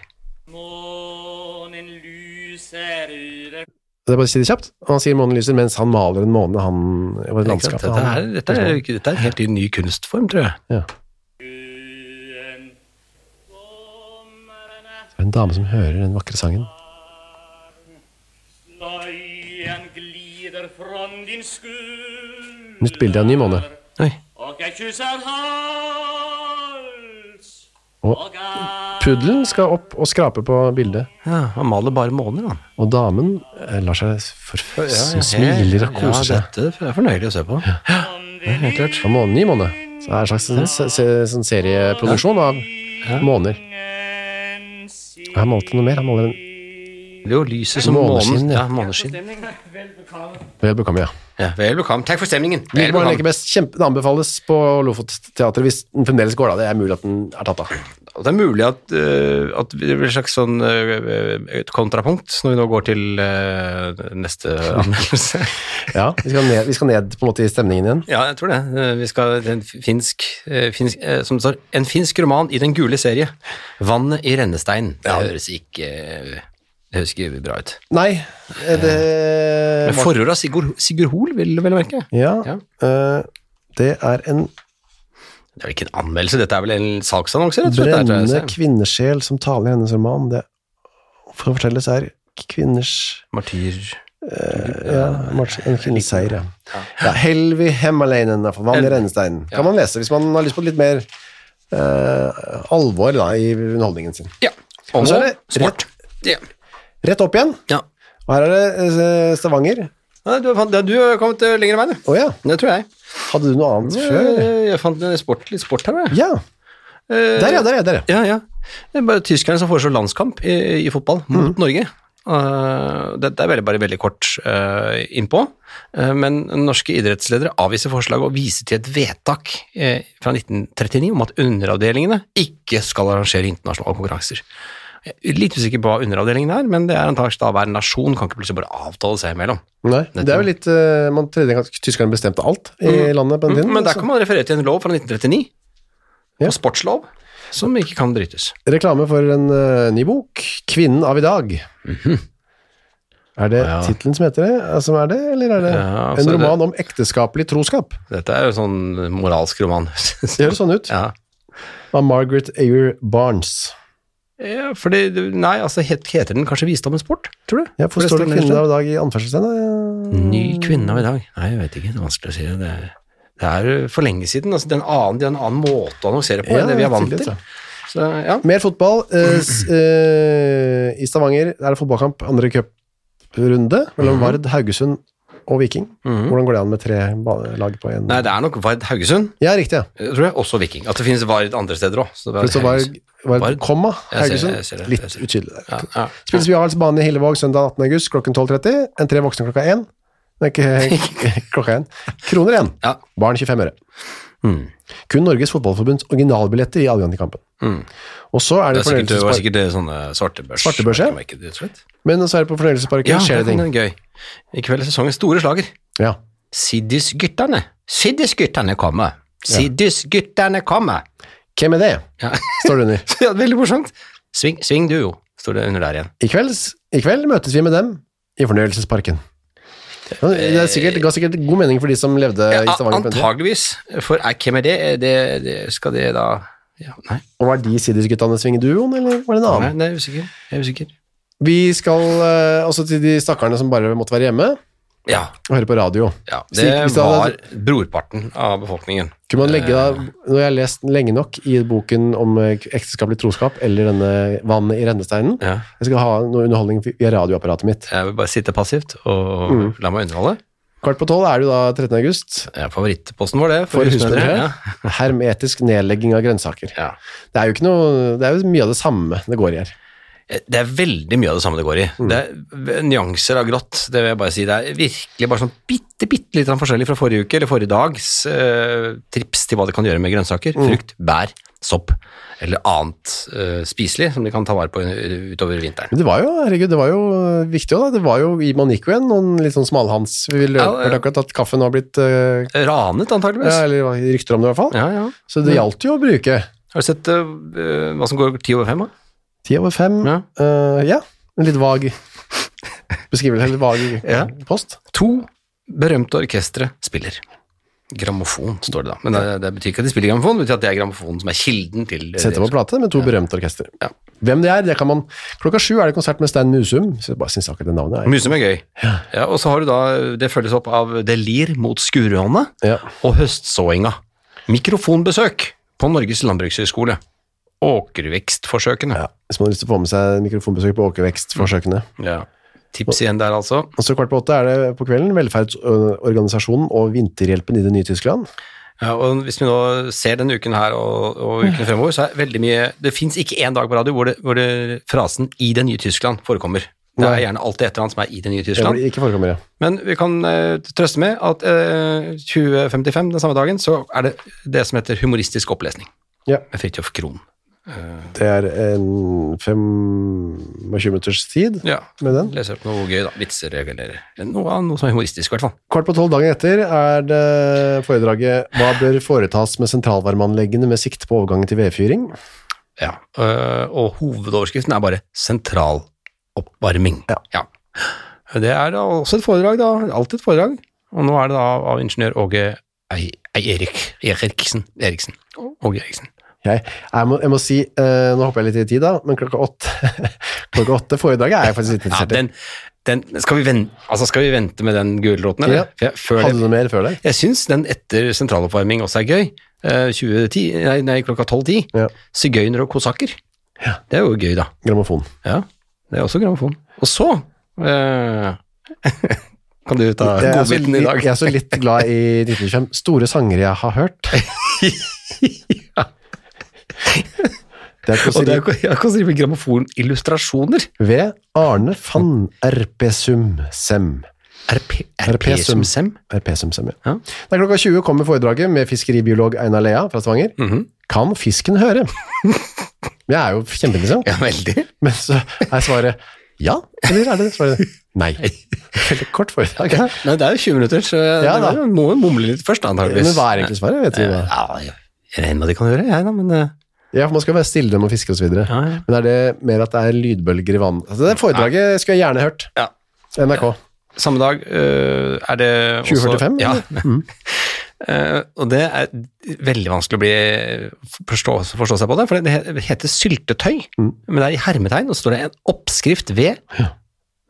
S6: Månen lyser ur
S2: Det er bare å si det kjapt. Og han sier månen lyser mens han maler en måne, han, over
S1: Ikke sant?
S2: landskapet.
S1: Dette er,
S2: han-
S1: dette, er, dette er en helt ny kunstform, tror jeg.
S2: Ja.
S6: byen. Sommeren er
S2: Det er en dame som hører den vakre sangen.
S6: varm. Løyen glider fra din skulder.
S2: Nytt bilde av en ny måned.
S1: Oi.
S6: Og jeg kysser han.
S2: Og puddelen skal opp og skrape på bildet.
S1: Ja, Han maler bare måner, han.
S2: Og damen eh, lar seg for... smiler og koser
S1: Ja,
S2: seg.
S1: dette er fornøyelig å se på.
S2: Ja, helt klart. Fra måned i måned. Så det er en slags sånn, se, se, sånn serieproduksjon av måneder. Og Han malte noe mer. Han maler en
S1: Det er jo lyset som månen.
S2: Måneskinn,
S1: Ja,
S2: ja.
S1: måneskinn.
S2: Vel bekomme, ja.
S1: Ja, vel bekomme. Takk for stemningen. Vel
S2: Lydbaren leker
S1: bekomme.
S2: best. Kjempe, den anbefales på Lofotteatret hvis den fremdeles går, da. Det er mulig at den er tatt av.
S1: Og Det er mulig at, eh, at det blir et slags sånn eh, et kontrapunkt når vi nå går til eh, neste anmeldelse.
S2: Ja, vi skal ned, vi skal ned på en måte i stemningen igjen.
S1: Ja, jeg tror det. Eh, Vi skal til en finsk, eh, finsk eh, Som det står, en finsk roman i den gule serie. 'Vannet i rennestein'. Det høres ikke eh, Det høres ikke bra ut.
S2: Nei, eh, det
S1: Men forordet av Sigurd, Sigurd Hoel, vil du vel merke.
S2: Ja.
S1: Ja.
S2: eh, det er en
S1: Det er vel ikke en anmeldelse, dette er vel en salgsannonse? rett og slett, tror jeg,
S2: brennende
S1: tror jeg.
S2: kvinnesjel som taler i hennes roman. Det, for å fortelle så er kvinners
S1: Martyr...
S2: Ja, Martin, en kvinnelig seier, ja. ja Helvi Hemmaleinen er for vann i rennesteinen. Kan man lese hvis man har lyst på litt mer eh, alvor da, i underholdningen sin.
S1: Ja.
S2: Og så er det
S1: sport. Ja.
S2: Rett opp igjen,
S1: ja.
S2: og her er det eh, Stavanger.
S1: Nei, Du, fant, du har kommet eh, lenger enn meg, du.
S2: Å ja,
S1: Det tror jeg.
S2: hadde du noe annet før?
S1: Eh, Jeg, jeg fant litt sport, litt sport her, jeg.
S2: Ja, der ja, der ja, der ja.
S1: Ja, ja. Det er bare tyskerne som foreslår landskamp i, i fotball mot Norge. Uh, det, det er veldig, bare veldig kort uh, innpå, uh, men norske idrettsledere avviser forslaget og viser til et vedtak eh, fra 1939 om at underavdelingene ikke skal arrangere internasjonale konkurranser. Jeg er Litt usikker på hva underavdelingen er, men det er antakelig da hver nasjon kan ikke plutselig bare avtale seg imellom.
S2: Nei, det er jo litt, eh, man trodde ikke at tyskerne bestemte alt i landet på den tiden.
S1: Mm, Men der
S2: så-
S1: kan man referere til en lov fra 1939,
S2: Ja.
S1: en sportslov, som ikke kan brytes.
S2: Reklame for en eh, ny bok, 'Kvinnen av i dag'. Er det
S1: Mhm. Ja.
S2: tittelen som heter det, eh, som er det, eller er det
S1: Ja, altså,
S2: en
S1: det-
S2: roman om ekteskapelig troskap?
S1: Dette er jo sånn moralsk roman.
S2: Det høres sånn ut.
S1: ja.
S2: Av Margaret Ayer Barnes.
S1: ja, fordi du- Nei, altså, het, heter den kanskje 'Visdommens sport'? Tror du?
S2: Ja, Hvorfor
S1: det står
S2: står det
S1: nederst
S2: 'Kvinne av i dag' i anførselstegn?
S1: Ny kvinne av i dag? Nei, jeg vet ikke. Det er vanskelig å si. Det er, det er for lenge siden. Altså, det, er en annen, det er en annen måte å annonsere på
S2: Ja,
S1: enn det vi er vant til.
S2: tidligere, så.
S1: Så, ja.
S2: Mer fotball. eh, s- eh, I Stavanger er det fotballkamp, andre cuprunde,
S1: Mhm.
S2: mellom Vard, Haugesund og Viking. Hvordan går det an med tre ba- lag på én?
S1: Nei, det er nok Vard Haugesund,
S2: Ja, riktig. ja.
S1: tror jeg. Også Viking. At det finnes Vard andre steder òg.
S2: For det står Varg, Varg,
S1: Varg.
S2: komma,
S1: Jeg ser det,
S2: Haugesund.
S1: jeg ser det,
S2: Litt
S1: jeg ser det.
S2: utydelig der.
S1: Ja, ja.
S2: Spilles vi Jarls bane i Hillevåg søndag 18. august klokken 12.30. En tre voksne klokka 1. Nei, ikke klokka 1. Kroner 1.
S1: Ja.
S2: Barn 25 øre. Hmm. Kun Norges Fotballforbunds originalbilletter i adgang til kampen. Og så
S1: Hmm. Det er sikkert,
S2: er det,
S1: det var
S2: fornøyelsespar-
S1: sikkert eh, sånne svartebørs...
S2: Svartebørs, ja.
S1: merkemarked, rett og slett.
S2: Men så er det på fornøyelsesparken
S1: Ja,
S2: skjer
S1: det
S2: det ting.
S1: er gøy. I kveld er sesongens store slager.
S2: Ja.
S1: Siddisgutterne. Siddisgutterne kommer. Siddisgutterne kommer.
S2: Hvem er det?
S1: Ja.
S2: står det under.
S1: ja, veldig morsomt. Sving, sving duo, sto det under der igjen.
S2: I, kvelds, I kveld møtes vi med dem i fornøyelsesparken. Det, er sikkert, det ga sikkert god mening for de som levde i Stavanger. på den tiden.
S1: Antageligvis, for er, hvem er det? Er Det, det skal det da ja, Nei,
S2: Og var de Sidis-guttene Svingeduoen, eller var det en annen?
S1: nei, nei jeg, er usikker. jeg er usikker.
S2: Vi skal eh, også til de stakkarene som bare måtte være hjemme
S1: Ja,
S2: og høre på radio.
S1: ja det
S2: Slik- hvis det
S1: var
S2: hadde-
S1: brorparten av befolkningen.
S2: Kunne man legge da, Når jeg har lest den lenge nok i boken om eh, ekteskapelig troskap eller denne vannet i rennesteinen
S1: Ja.
S2: Jeg skal ha noe underholdning via radioapparatet mitt.
S1: Jeg vil bare sitte passivt og la meg underholde.
S2: Kvart på tolv er det jo da 13. august.
S1: Det er favorittposten vår, det.
S2: For husmødre.
S1: Ja.
S2: Hermetisk nedlegging av grønnsaker.
S1: Ja.
S2: Det er jo ikke noe Det er jo mye av det samme det går i her.
S1: Eh, Det er veldig mye av det samme det går i.
S2: Mm.
S1: Det er nyanser av grått, det vil jeg bare si. Det er virkelig bare sånn bitte, bitte litt forskjellig fra forrige uke eller forrige dags eh, trips til hva de kan gjøre med grønnsaker.
S2: Mm.
S1: Frukt, bær, sopp eller annet eh, spiselig som de kan ta vare på eh, utover vinteren.
S2: Men det var jo herregud, det var jo eh, viktig òg, da. Det var jo i Manico igjen, noen litt sånn smalhans Vi ville
S1: Ja, ja.
S2: hørt akkurat at kaffen har blitt eh,
S1: Ranet,
S2: ja,
S1: antageligvis.
S2: Eller rykter om det, i hvert fall.
S1: Ja, ja.
S2: Så det gjaldt jo å bruke.
S1: Har du sett eh, eh, hva som går ti over fem? da?
S2: Ti over fem.
S1: Ja.
S2: Ja. ja. En litt vag beskrivelse, eller vag
S1: Ja.
S2: post.
S1: To berømte orkestre spiller. Grammofon, står det da. Men det, det betyr ikke at de spiller grammofon, det betyr at det er grammofonen som er kilden til eh,
S2: Setter på plate med to berømte orkester.
S1: Ja.
S2: Hvem det er, det kan man Klokka sju er det konsert med Stein Musum. Så jeg bare syns akkurat det navnet er
S1: Musum er gøy. Ja. og så har du da, det følges opp av Det lir mot Skurane
S2: ja.
S1: og Høstsåinga. Mikrofonbesøk på Norges landbrukshøgskole. åkervekstforsøkene.
S2: Ja, hvis man har lyst til å få med seg mikrofonbesøk på åkervekstforsøkene.
S1: Ja. Tips igjen der, altså.
S2: Og så kvart på åtte er det på kvelden velferdsorganisasjonen og vinterhjelpen i det nye Tyskland.
S1: Ja, og Hvis vi nå ser denne uken her og, og ukene fremover, så er veldig mye Det fins ikke én dag på radio hvor, det, hvor det, frasen 'i det nye Tyskland' forekommer. Det er
S2: Nei.
S1: gjerne alltid et eller annet som er i det nye
S2: Det
S1: Tyskland.
S2: blir ikke forekommer, ja.
S1: Men vi kan eh, trøste med at eh, 2055, den samme dagen, så er det det som heter humoristisk opplesning.
S2: Ja.
S1: Med Fridtjof Krohn.
S2: Det er en 25 minutters tid
S1: Ja.
S2: med den.
S1: Leser opp noe gøy, da. Vitser eller noe, annet- noe som er humoristisk, i hvert fall.
S2: Kvart på tolv dagen etter er det foredraget Hva bør foretas med sentralvarmeanleggene med sikt på overgangen til vedfyring?
S1: Ja. eh, og hovedoverskriften er bare 'sentral oppvarming'.
S2: Ja.
S1: Det er da også et foredrag, da. Alltid et foredrag. Og nå er det da av ingeniør Åge Ei- Ei- Erik Eriksen. Eriksen. Åge Eriksen.
S2: Jeg, jeg, må, jeg må si, eh, nå hopper jeg litt i tid da, men klokka åtte, klokka åtte foredraget er jeg faktisk litt
S1: Ja,
S2: interessert i.
S1: den, den skal, vi vente, altså skal vi vente med den gulroten, eller?
S2: Ja.
S1: For jeg- Før
S2: Hadde
S1: det
S2: du noe mer før det?
S1: Jeg syns den etter sentraloppvarming også er gøy. Eh, 2010, nei, nei, klokka 12.10.
S2: Ja.
S1: Sigøyner og kosakker.
S2: Ja.
S1: Det er jo gøy, da.
S2: Grammofon.
S1: Ja, det er også grammofon. Og så eh, kan du ta
S2: Jeg er, altså så,
S1: godbiten i
S2: litt-
S1: dag.
S2: jeg er så litt glad i 1925. Store sanger jeg har hørt. Det er
S1: Og det er
S2: kåseri
S1: jo jeg kan skrive grammofonillustrasjoner.
S2: ved Arne van Erpesum Sem.
S1: RP, RP
S2: RP
S1: som
S2: Sum.
S1: sem.
S2: Erpesum Sem, ja.
S1: Ja.
S2: Det er klokka 20 kommer foredraget med fiskeribiolog Einar Lea fra Stavanger.
S1: Mhm.
S2: Kan fisken høre? Jeg er jo kjempeinteressant.
S1: Ja, veldig.
S2: Men så er svaret ja, eller er det svaret nei? Veldig kort foredrag.
S1: Nei, det er jo 20 minutter, så
S2: Ja,
S1: det
S2: da.
S1: er jo- må jo mumle litt først, antakeligvis.
S2: Men hva er egentlig svaret? Vet du hva?
S1: Ja, jeg jeg regner med de kan gjøre, jeg da, men eh,
S2: Ja, for man skal være stille når man fisker og så videre.
S1: Ja, ja.
S2: Men er det mer at det er lydbølger i vann? Altså, det foredraget skulle jeg gjerne hørt.
S1: Ja.
S2: NRK.
S1: Samme dag eh, er det også
S2: 2045,
S1: Ja.
S2: Mm.
S1: Eh, og det er veldig vanskelig å bli, forstå, forstå seg på det, for det he- heter syltetøy,
S2: Mm.
S1: men det er i hermetegn, og så står det en oppskrift ved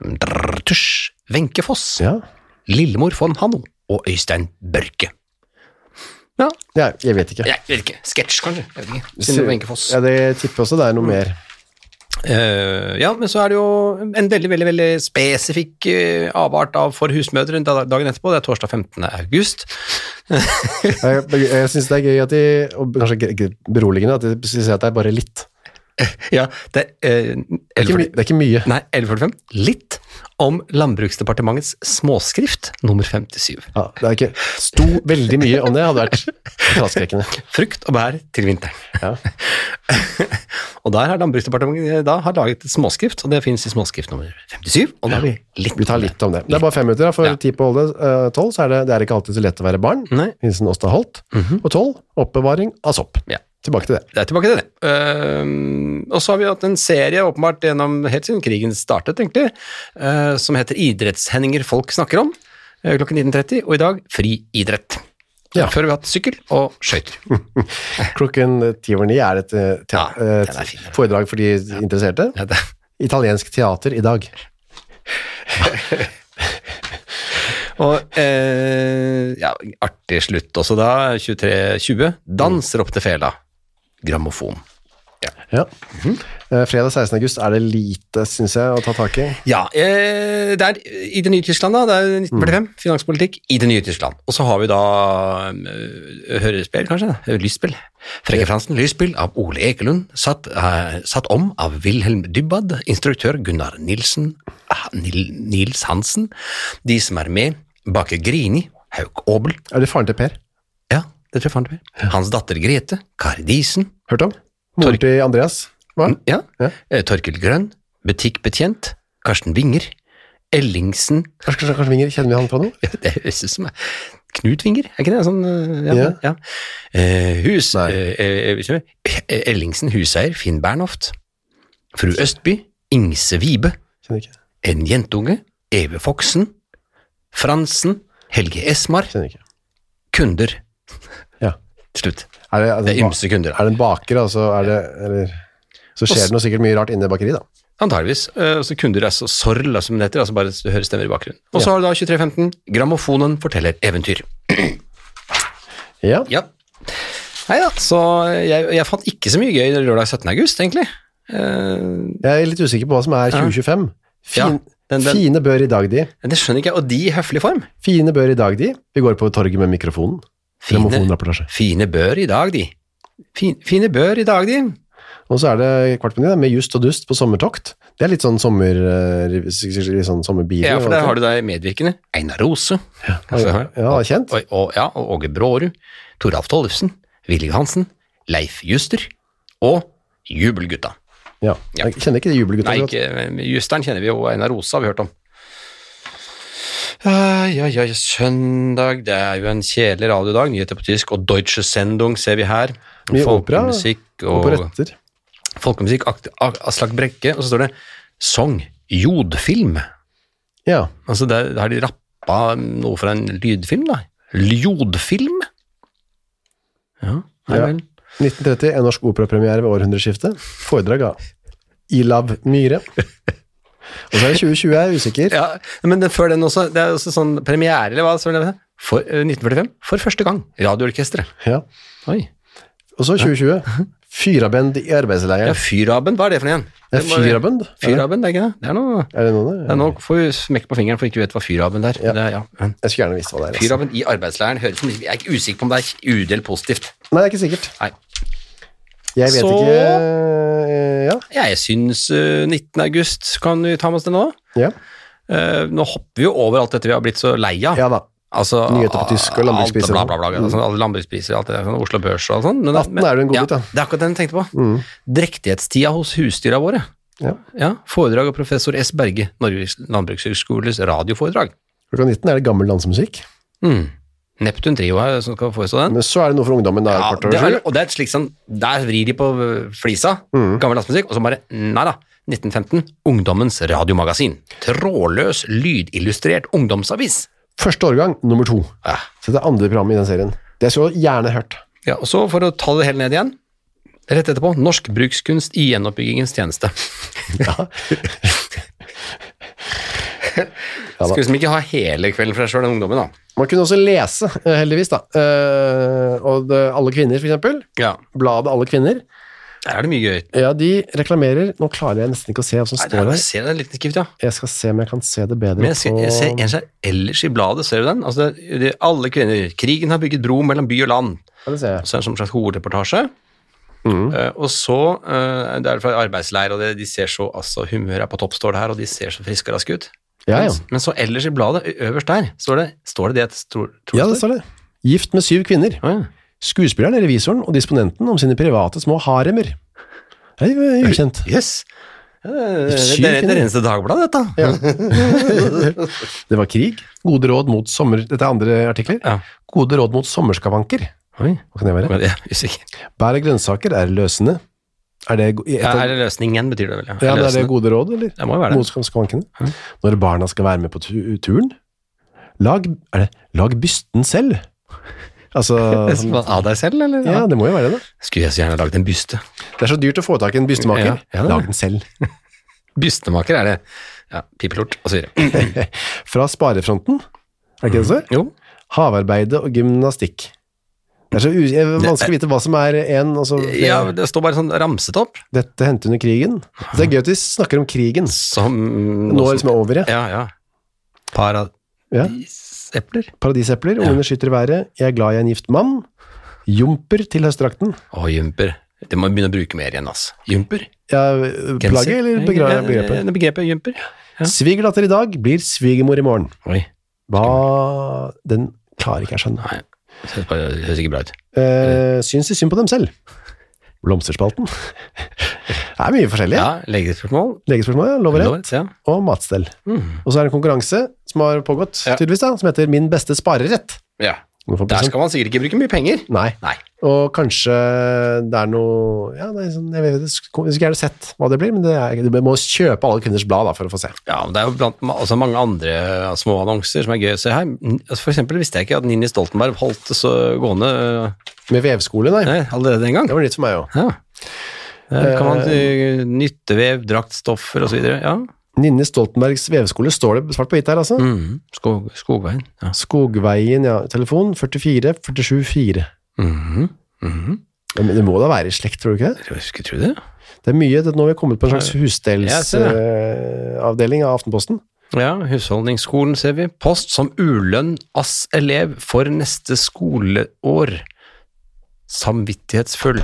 S1: Drrr, Tusj, Wenche Foss,
S2: Ja.
S1: Lillemor von Hanno og Øystein Børke. Ja,
S2: ja, jeg vet ikke.
S1: jeg vet ikke. Sketsj, kanskje? Jeg vet ikke.
S2: Så-
S1: Siden Wenche Foss.
S2: Ja, det tipper også det
S1: Mm.
S2: er noe mer.
S1: Eh, ja, men så er det jo en veldig veldig, veldig spesifikk eh, avart av for husmødre da- dagen etterpå. Det er torsdag 15. august.
S2: Jeg, jeg syns det er gøy at de, og kanskje gre- gre- beroligende, at de sier at det er bare litt.
S1: Ja, det er, eh,
S2: Det er ikke, my, det er ikke mye.
S1: Nei, 1145. Litt om Landbruksdepartementets småskrift nummer 57.
S2: Ja, det er ikke sto veldig mye om det, hadde vært fraskrekkende.
S1: Frukt og bær til vinteren.
S2: Ja.
S1: og der har Landbruksdepartementet eh, da har laget et småskrift, og det finnes i småskrift nummer 57. Og da har vi litt
S2: Vi tar litt om det. Det er bare fem minutter, da, for
S1: Ja.
S2: ti på holde, eh, tolv, så er det, det er ikke alltid så lett å være barn.
S1: Nei. Mhm.
S2: Hilsen Åsta Holt. Og tolv, oppbevaring av sopp.
S1: Ja.
S2: Tilbake til det.
S1: Det er tilbake til det. Ehm, og så har vi hatt en serie åpenbart gjennom helt siden krigen startet, egentlig, eh, som heter 'Idrettshendinger folk snakker om', eh, klokken 19.30, og i dag fri idrett.
S2: Ja.
S1: Før har vi hatt sykkel og skøyter.
S2: Klokken eh, ti over ni er et, eh, te-
S1: Ja,
S2: eh,
S1: den er fin, den.
S2: foredrag for de interesserte.
S1: Ja, det,
S2: Italiensk teater i dag.
S1: og eh, ja, artig slutt også da, 23.20. Danser opp til fela. Grammofon.
S2: Ja.
S1: Mhm.
S2: Eh, Fredag 16. august er det lite, syns jeg, å ta tak i.
S1: Ja, eh, det er i det nye Tyskland, da. Det er 1945. Finanspolitikk i det nye Tyskland. Og så har vi da eh, hørespill, kanskje? da? Lysspill. Frekke Fransen, lysspill av Ole Ekelund. Satt, eh, satt om av Wilhelm Dybwad. Instruktør Gunnar Nilsen. ah, Nil, Nils Hansen. De som er med, baker Grini. Hauk Aabel.
S2: Er det faren til Per?
S1: Ja, det tror jeg faren til meg. Hans datter Grete. Kari Disen.
S2: Hørt om? Moren
S1: Torg-
S2: til Andreas? Hva?
S1: Ja.
S2: Ja.
S1: Eh, Torkil Grønn. Butikkbetjent. Karsten Winger. Ellingsen.
S2: Kanskje, kanskje, kanskje Winger? Kjenner vi han fra noe?
S1: Ja, det høres ut som jeg- Knut Winger, er ikke det? Sånn, øh, ja,
S2: Ja.
S1: ja. Eh, hus,
S2: Nei.
S1: eh, eh, vet du hva? Eh, Ellingsen huseier, Finn Bernhoft. Fru Østby, Ingse Vibe,
S2: Kjenner ikke.
S1: en jentunge, Eve Foksen, Fransen, Helge Esmar,
S2: Kjenner ikke.
S1: kunder.
S2: Ja.
S1: Til slutt.
S2: Er det, er
S1: Det
S2: det,
S1: er ymse kunder.
S2: er det en baker, altså? Er det, eller, så skjer det noe sikkert mye rart inne i bakeriet, da.
S1: Antageligvis. Eh, og så kunder er så sorl, da, som det heter. Altså bare du hører stemmer i bakgrunnen. Og så har du da 23.15, Grammofonen forteller eventyr.
S2: Ja.
S1: Ja. Nei da, så jeg, jeg fant ikke så mye gøy lørdag 17. august, egentlig. Eh,
S2: Jeg er litt usikker på hva som er 2025.
S1: Ja,
S2: Fin,
S1: den- den-
S2: Fine bør i dag, de.
S1: det skjønner ikke jeg. Og de i høflig form.
S2: Fine bør i dag, de. Vi går på torget med mikrofonen.
S1: Fine.
S2: Grammofonrapportasje.
S1: Fine bør i dag, de. Fin, fine bør i dag, de.
S2: Og så er det kvart på ni, da, med Just og Dust på sommertokt. Det er litt sånn sommer... eh, rev- Litt sånn sommerbil.
S1: Ja, for der har du deg medvirkende. Einar Rose. Altså,
S2: Ja, kjent.
S1: og, og, ja, og Åge Brårud. Toralf Tollefsen. Willy Johansen. Leif Juster. Og Jubelgutta.
S2: Ja.
S1: Ja.
S2: Jeg kjenner ikke det jubelgutta.
S1: Nei,
S2: så godt.
S1: ikke, men Justeren kjenner vi jo, og Einar Rose har vi hørt om. Ja, ja, ja, søndag, det er jo en kjedelig radiodag, nyheter på tysk, og Deutsche Sendung ser vi her.
S2: Mye opera,
S1: Folkemusikk
S2: Og på
S1: og
S2: retter.
S1: folkemusikk, akt- A- Aslak Brekke, og så står det Song, jodfilm.
S2: Ja.
S1: Altså, der, der har de rappa noe fra en lydfilm, da. Ljodfilm? Ja, nei
S2: Ja.
S1: vel.
S2: 1930, en norsk operapremiere ved århundreskiftet. Foredrag av Ilav Myhre. Og så er det 2020, jeg er usikker.
S1: Ja, men den, før den også, det er også sånn premiere, eller hva? som det heter? For, eh, 1945, for første gang, radioorkestret.
S2: Ja.
S1: Oi.
S2: Og så 2020, Fyrabend i arbeidsleiren.
S1: Ja, Fyrabend, hva er det for en?
S2: Det er
S1: Det må-
S2: Fyrabend? Er det-
S1: Fyrabend, det er ikke det? Det er noe...
S2: Er det noe
S1: Ja,
S2: der?
S1: nå får vi smekke på fingeren for ikke vi vet hva fyrabend er.
S2: Ja.
S1: Det er ja. men
S2: Jeg skulle gjerne visst hva det er. altså.
S1: Fyrabend i arbeidsleiren høres ut som Jeg er ikke usikker på om det er udelt positivt.
S2: Nei, det er ikke sikkert.
S1: Nei.
S2: Jeg vet
S1: Så-
S2: ikke eh, Ja.
S1: Jeg syns eh, 19. august kan vi ta med oss det nå.
S2: Ja,
S1: Eh, nå hopper vi jo over alt dette vi har blitt så lei av.
S2: ja da.
S1: Altså,
S2: Nyheter på tysk og landbrukspriser og
S1: Alt, bla, bla, bla,
S2: sånn.
S1: altså, alle landbrukspriser, alt det der, sånn, Oslo Børs og sånn. Men-
S2: 18 er jo en god bit, da.
S1: Ja, det er akkurat den jeg tenkte på.
S2: Mm.
S1: Drektighetstida hos husdyra våre.
S2: Ja.
S1: Ja, Foredrag av professor S. Berge, Norges landbrukshøgskoles radioforedrag.
S2: Klokka 19 er det gammel landsmusikk.
S1: Mm. Neptun Trio er som skal forestå den.
S2: Men så er det noe for ungdommen. Da,
S1: Ja,
S2: kvart
S1: det
S2: over
S1: er,
S2: sju.
S1: og det er et slikt sånn Der vrir de på øh, flisa,
S2: Mm.
S1: gammel landsmusikk, og så bare Nei da. 1915, Ungdommens radiomagasin. Trådløs, lydillustrert ungdomsavis.
S2: Første årgang, nummer to.
S1: Ja.
S2: Så det er andre programmet i den serien. Det skulle jeg gjerne hørt.
S1: Ja, og så for å ta det hele ned igjen, rett etterpå, norsk brukskunst i gjenoppbyggingens tjeneste.
S2: Ja da.
S1: Skal liksom ikke ha hele kvelden for deg sjøl, den ungdommen, da.
S2: Man kunne også lese, eh, heldigvis, da. Eh, og det, Alle kvinner, for eksempel.
S1: Ja.
S2: Bladet Alle kvinner.
S1: Der er det mye gøy.
S2: Ja, de reklamerer Nå klarer jeg nesten ikke å se hva som
S1: Nei, der,
S2: står her.
S1: jeg ser den liten skrift, ja.
S2: Jeg skal se om jeg kan se det bedre
S1: Men jeg ser, jeg ser
S2: på
S1: en seg ellers i bladet, ser du den? Altså, det, det, alle kvinner. Krigen har bygget bro mellom by og land.
S2: Ja, det ser jeg.
S1: Så er det en slags hovedreportasje.
S2: Mm.
S1: Eh, og så eh, Det er fra arbeidsleir, og det, de ser så altså, Humøret er på topp, står det her, og de ser så friske og raske ut.
S2: Ja, ja.
S1: Men, men så ellers i bladet, ø- øverst der, står det Står det det jeg tror, tror
S2: ja, det står det. Gift med syv kvinner.
S1: Å, ja.
S2: Skuespilleren, revisoren og disponenten om sine private små haremer. Det er jo ukjent.
S1: Yes. Ja, Det det-
S2: Syv
S1: det er det
S2: kvinner.
S1: eneste Dagbladet, dette.
S2: Det var krig. Gode råd mot sommer... Dette er andre artikler.
S1: Ja.
S2: Gode råd mot sommerskavanker.
S1: Oi,
S2: Hva kan det være?
S1: men jeg er usikker.
S2: Bær og grønnsaker er løsende. Er det, go- i et
S1: Ja,
S2: av-
S1: er det løsningen, betyr det vel? Ja,
S2: ja, men er det
S1: Løsende.
S2: gode råd, eller?
S1: Det må jo være det.
S2: Mot skavankene. Når barna skal være med på tu- turen, lag, er det, lag bysten selv. Altså,
S1: Av deg selv, eller?
S2: ja, det må jo være det. da.
S1: Skulle jeg så gjerne lagd en byste.
S2: Det er så dyrt å få tak i en bystemaker.
S1: Ja, ja, det er det.
S2: lag den selv.
S1: Bystemaker er det. Ja, pipelort og så videre.
S2: Fra sparefronten, er det ikke det så?
S1: Jo.
S2: Havarbeide og gymnastikk. Det er så u- eh, vanskelig å vite hva som er en, altså,
S1: Ja, det står bare sånn ramset opp.
S2: dette hendte under krigen. Det er gøy at vi snakker om krigen.
S1: Som
S2: Nå er det liksom over, ja.
S1: Ja, ja.
S2: Ja.
S1: Paradisepler.
S2: Paradisepler, ungene skyter i været, jeg er glad i en gift mann, jumper til høstdrakten.
S1: Å, jumper. Det må vi begynne å bruke mer igjen, altså. Jumper?
S2: Ja, plagget
S1: Genser?
S2: eller begra- begrepet?
S1: Det begrepet jumper. Ja.
S2: Svigerdatter i dag blir svigermor i morgen.
S1: Oi.
S2: Hva Den klarer ikke jeg å skjønne.
S1: Nei, det høres ikke bra ut.
S2: Eh, syns de synd på dem selv? Blomsterspalten. Det er mye forskjellig.
S1: Ja, legespørsmål.
S2: Legespørsmål, ja. Lov og rett.
S1: Ja.
S2: Og matstell.
S1: Mm.
S2: Og så er det en konkurranse som har pågått,
S1: Ja.
S2: tydeligvis, da, som heter Min beste sparerett.
S1: ja.
S2: Du får
S1: Der
S2: prosent.
S1: skal man sikkert ikke bruke mye penger.
S2: Nei.
S1: sånn- Nei.
S2: Og kanskje det er noe ja, det er sånn, Jeg vet ikke, jeg skulle gjerne sett hva det blir, men det er, du må kjøpe alle kvinners blad da, for å få se.
S1: Ja, men Det er jo blant ma- også mange andre eh, små annonser som er gøy å se her. N- altså, For eksempel visste jeg ikke at Nini Stoltenberg holdt det så gående eh,
S2: Med vevskole, nei.
S1: nei, allerede den gang.
S2: Det var nytt for meg òg.
S1: Ja. Der kan man eh, nyttevev, draktstoffer osv. Ja.
S2: Ninni Stoltenbergs vevskole står det svart på hvitt her, altså.
S1: Mm. Skog, skogveien. Ja.
S2: Skogveien, ja. Telefon 44 47 4.
S1: Mhm.
S2: Ja, Men det må da være i slekt, tror du ikke det?
S1: Skulle tro det.
S2: Det er mye, det, nå har vi kommet på en slags
S1: Jeg ser det.
S2: husdelsavdeling av Aftenposten.
S1: Ja, husholdningsskolen ser vi. Post som ulønn ass elev for neste skoleår. Samvittighetsfull.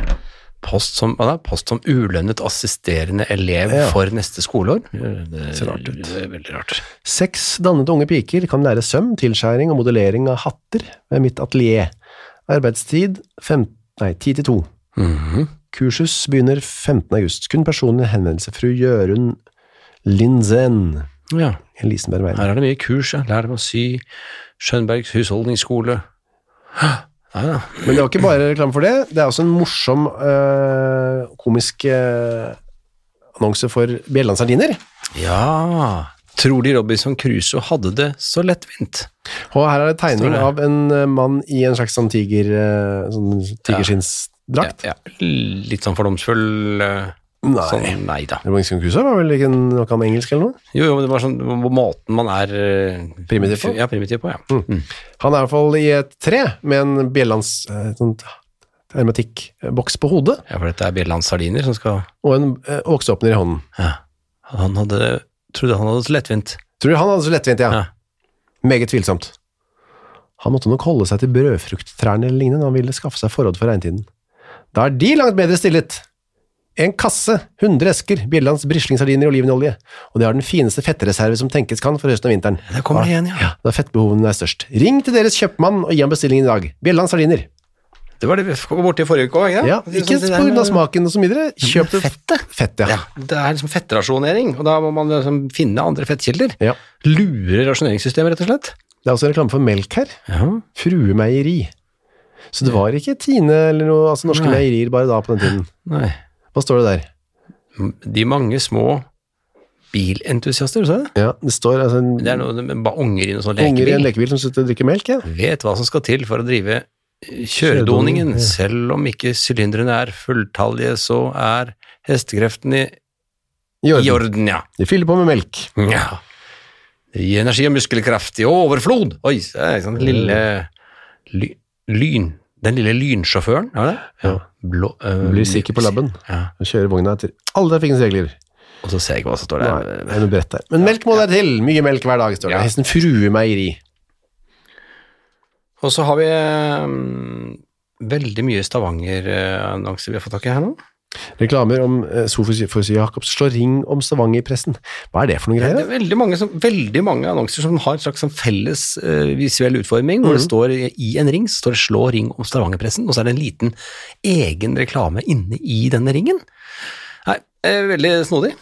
S1: Post som, hva da? Post som ulønnet assisterende elev
S2: Ja.
S1: for neste skoleår. Det
S2: ser rart ut.
S1: Det er veldig rart.
S2: Seks dannede unge piker kan lære søm, tilskjæring og modellering av hatter ved mitt atelier. Arbeidstid fem, nei, 10 til 2.
S1: Mhm.
S2: Kursus begynner 15. august. Kun personlig henvendelse fru Jørund Lindzen.
S1: Ja,
S2: Elisenberg Veien.
S1: her er det mye kurs. Ja. Lær dem å sy. Skjønbergs husholdningsskole. Hæ? Ja, ja.
S2: Men det var ikke bare reklame for det. Det er også en morsom, øh, komisk øh, annonse for Bjelland Sardiner.
S1: ja. Tror de Robinson Crusoe hadde det så lettvint?
S2: Og her er det
S1: Står
S2: tegning
S1: det.
S2: av en øh, mann i en slags sånn tiger, øh, sånn tigerskinnsdrakt.
S1: Ja, ja. Litt sånn fordomsfull eh,
S2: Nei.
S1: Sånn, nei da.
S2: Robinson Crusoe var vel ikke en- noe om engelsk eller noe?
S1: Jo, jo, men det var sånn på måten man er eh,
S2: Primitiv på?
S1: Ja, primitiv på, ja.
S2: Han er i hvert fall i et tre med en Bjellands øh, sånn hermetikkboks på hodet
S1: ja for dette er Bjellands sardiner som skal
S2: og en øh, vokseåpner i hånden.
S1: ja. Han hadde trodde han hadde det så lettvint.
S2: Tror du han hadde så lettvint, ja?
S1: Ja.
S2: Meget tvilsomt. Han måtte nok holde seg til brødfrukttrærne eller lignende når han ville skaffe seg forråd for regntiden. Da er de langt bedre stillet! En kasse, 100 esker, Bjellands brislingsardiner i olivenolje, og de har den fineste fettreserve som tenkes kan for høsten og vinteren.
S1: Der kommer det igjen, ja.
S2: Da fettbehovene er størst. Ring til deres kjøpmann og gi ham bestillingen i dag. Bjellands sardiner.
S1: Det var det vi kom borti i forrige uke òg,
S2: Ja, ikke på grunn av smaken og så videre. Kjøp det
S1: eh, Fettet.
S2: fett, ja.
S1: Ja, det er liksom fettrasjonering, og da må man liksom finne andre fettkilder.
S2: Ja.
S1: Lure rasjoneringssystemet, rett og slett.
S2: Det er også en reklame for melk her.
S1: Ja.
S2: Fruemeieri. Så det var ikke Tine eller noe, altså norske
S1: Nei.
S2: meierier bare da på den tiden.
S1: Nei.
S2: Hva står det der?
S1: De mange små bilentusiaster, sa jeg.
S2: Ja, det står altså en
S1: Det er noe med ba- unger i noe sånn
S2: unger i en
S1: lekebil.
S2: lekebil som sitter og drikker melk, ja.
S1: vet hva som skal til for å drive kjøredoningen,
S2: Kjøredoningen, ja.
S1: selv om ikke sylindrene er fulltallige, så er hestekreftene i,
S2: I orden.
S1: i orden, ja.
S2: De fyller på med melk.
S1: ja. I energi og muskelkraft i overflod! Oi, se, ikke sant, den lille ly, lyn... Den lille lynsjåføren, er det? det?
S2: Ja.
S1: Blå, øh,
S2: Blir sikker på labben
S1: Ja.
S2: og kjører vogna etter alle trafikkens regler.
S1: Og så ser jeg ikke hva som står
S2: Nei,
S1: der.
S2: det er noe brett der. Men melk må der til! Mye melk hver dag, står det.
S1: Ja.
S2: Hesten Fruemeieri.
S1: Og så har vi øhm, veldig mye Stavanger-annonser vi har fått tak i her nå.
S2: Reklamer om eh, Sofus Sofus Jacobs slår ring om Stavanger-pressen. Hva er det for noen
S1: Det
S2: greier?
S1: er
S2: da?
S1: veldig mange, som, veldig mange annonser som har en slags sånn felles eh, visuell utforming, hvor det
S2: Mhm.
S1: står i i en ring, så står det 'slå ring om Stavanger-pressen', og så er det en liten egen reklame inne i denne ringen. Nei, eh, veldig snodig.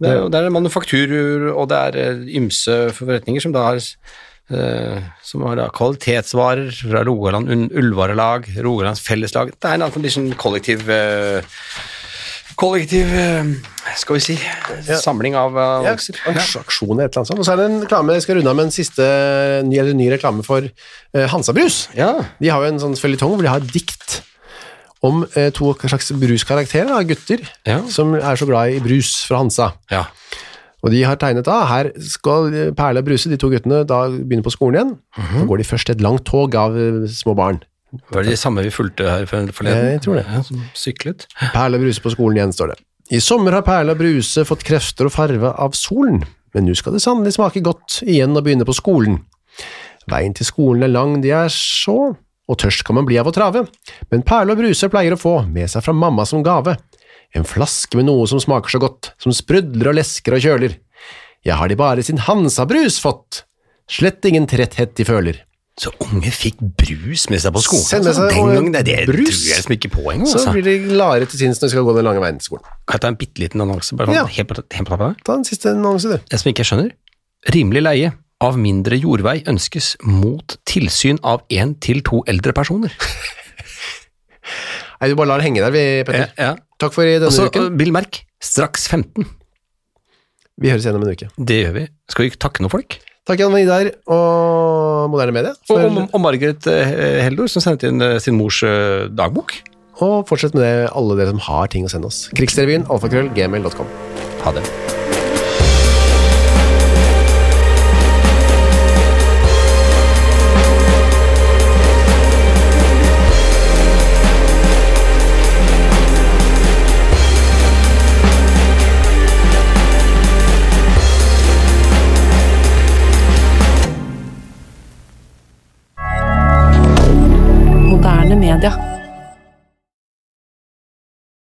S1: Det er, jo- det er manufakturer, og det er eh, ymse forretninger som da har eh, som har da kvalitetsvarer fra Rogaland Un- Ullvarelag, Rogalands Felleslag Det er en annen sånn kollektiv eh, kollektiv eh, skal vi si samling av eh,
S2: Ja,
S1: annonser.
S2: aks- Aksjon eller et eller annet sånt. Og så er det en reklame, jeg skal runde av med en siste ny, eller ny reklame for eh, Hansa Brus.
S1: Ja.
S2: De har jo en sånn føljetong hvor de har dikt om eh, to slags bruskarakterer av gutter
S1: Ja.
S2: som er så glad i brus fra Hansa.
S1: ja.
S2: Og de har tegnet da, her skal Perle og Bruse, de to guttene, da begynne på skolen igjen. Så går de først et langt tog av eh, små barn.
S1: Var det de samme vi fulgte her for- forleden?
S2: Jeg tror det.
S1: Ja, som syklet.
S2: Perle og Bruse på skolen igjen, står det. I sommer har Perle og Bruse fått krefter og farve av solen, men nå skal det sannelig smake godt igjen å begynne på skolen. Veien til skolen er lang, de er så, og tørst kan man bli av å trave, men Perle og Bruse pleier å få med seg fra mamma som gave. En flaske med noe som smaker så godt, som sprudler og lesker og kjøler. Jeg har de bare sin Hansa-brus fått. Slett ingen tretthet de føler.
S1: Så unge fikk brus med seg på skolen.
S2: Send med
S1: altså.
S2: seg
S1: Den gangen, det, det
S2: brus.
S1: tror jeg liksom ikke på engang.
S2: Så
S1: Altså.
S2: blir de gladere til sinns når de skal gå den lange veien til skolen.
S1: Kan jeg ta en bitte liten annonse? Bare sånn,
S2: Ja.
S1: helt, på- helt på tappen?
S2: Ta den siste annonsen, du.
S1: Det som ikke jeg skjønner. Rimelig leie av mindre jordvei ønskes mot tilsyn av én til to eldre personer.
S2: Nei, vi bare lar det henge der, vi, Petter.
S1: ja.
S2: Takk for i denne
S1: Og så
S2: uken.
S1: bilmerk straks 15.
S2: Vi høres igjen om en uke.
S1: Det gjør vi. Skal vi ikke takke noen folk?
S2: Takk igjen, Vidar og Moderne Media.
S1: Og,
S2: For,
S1: og, og Margaret eh, Heldor, som sendte inn eh, sin mors eh, dagbok.
S2: og fortsett med det, alle dere som har ting å sende oss. Krigsrevyen, alfakrøll, gmail.com.
S1: Ha det.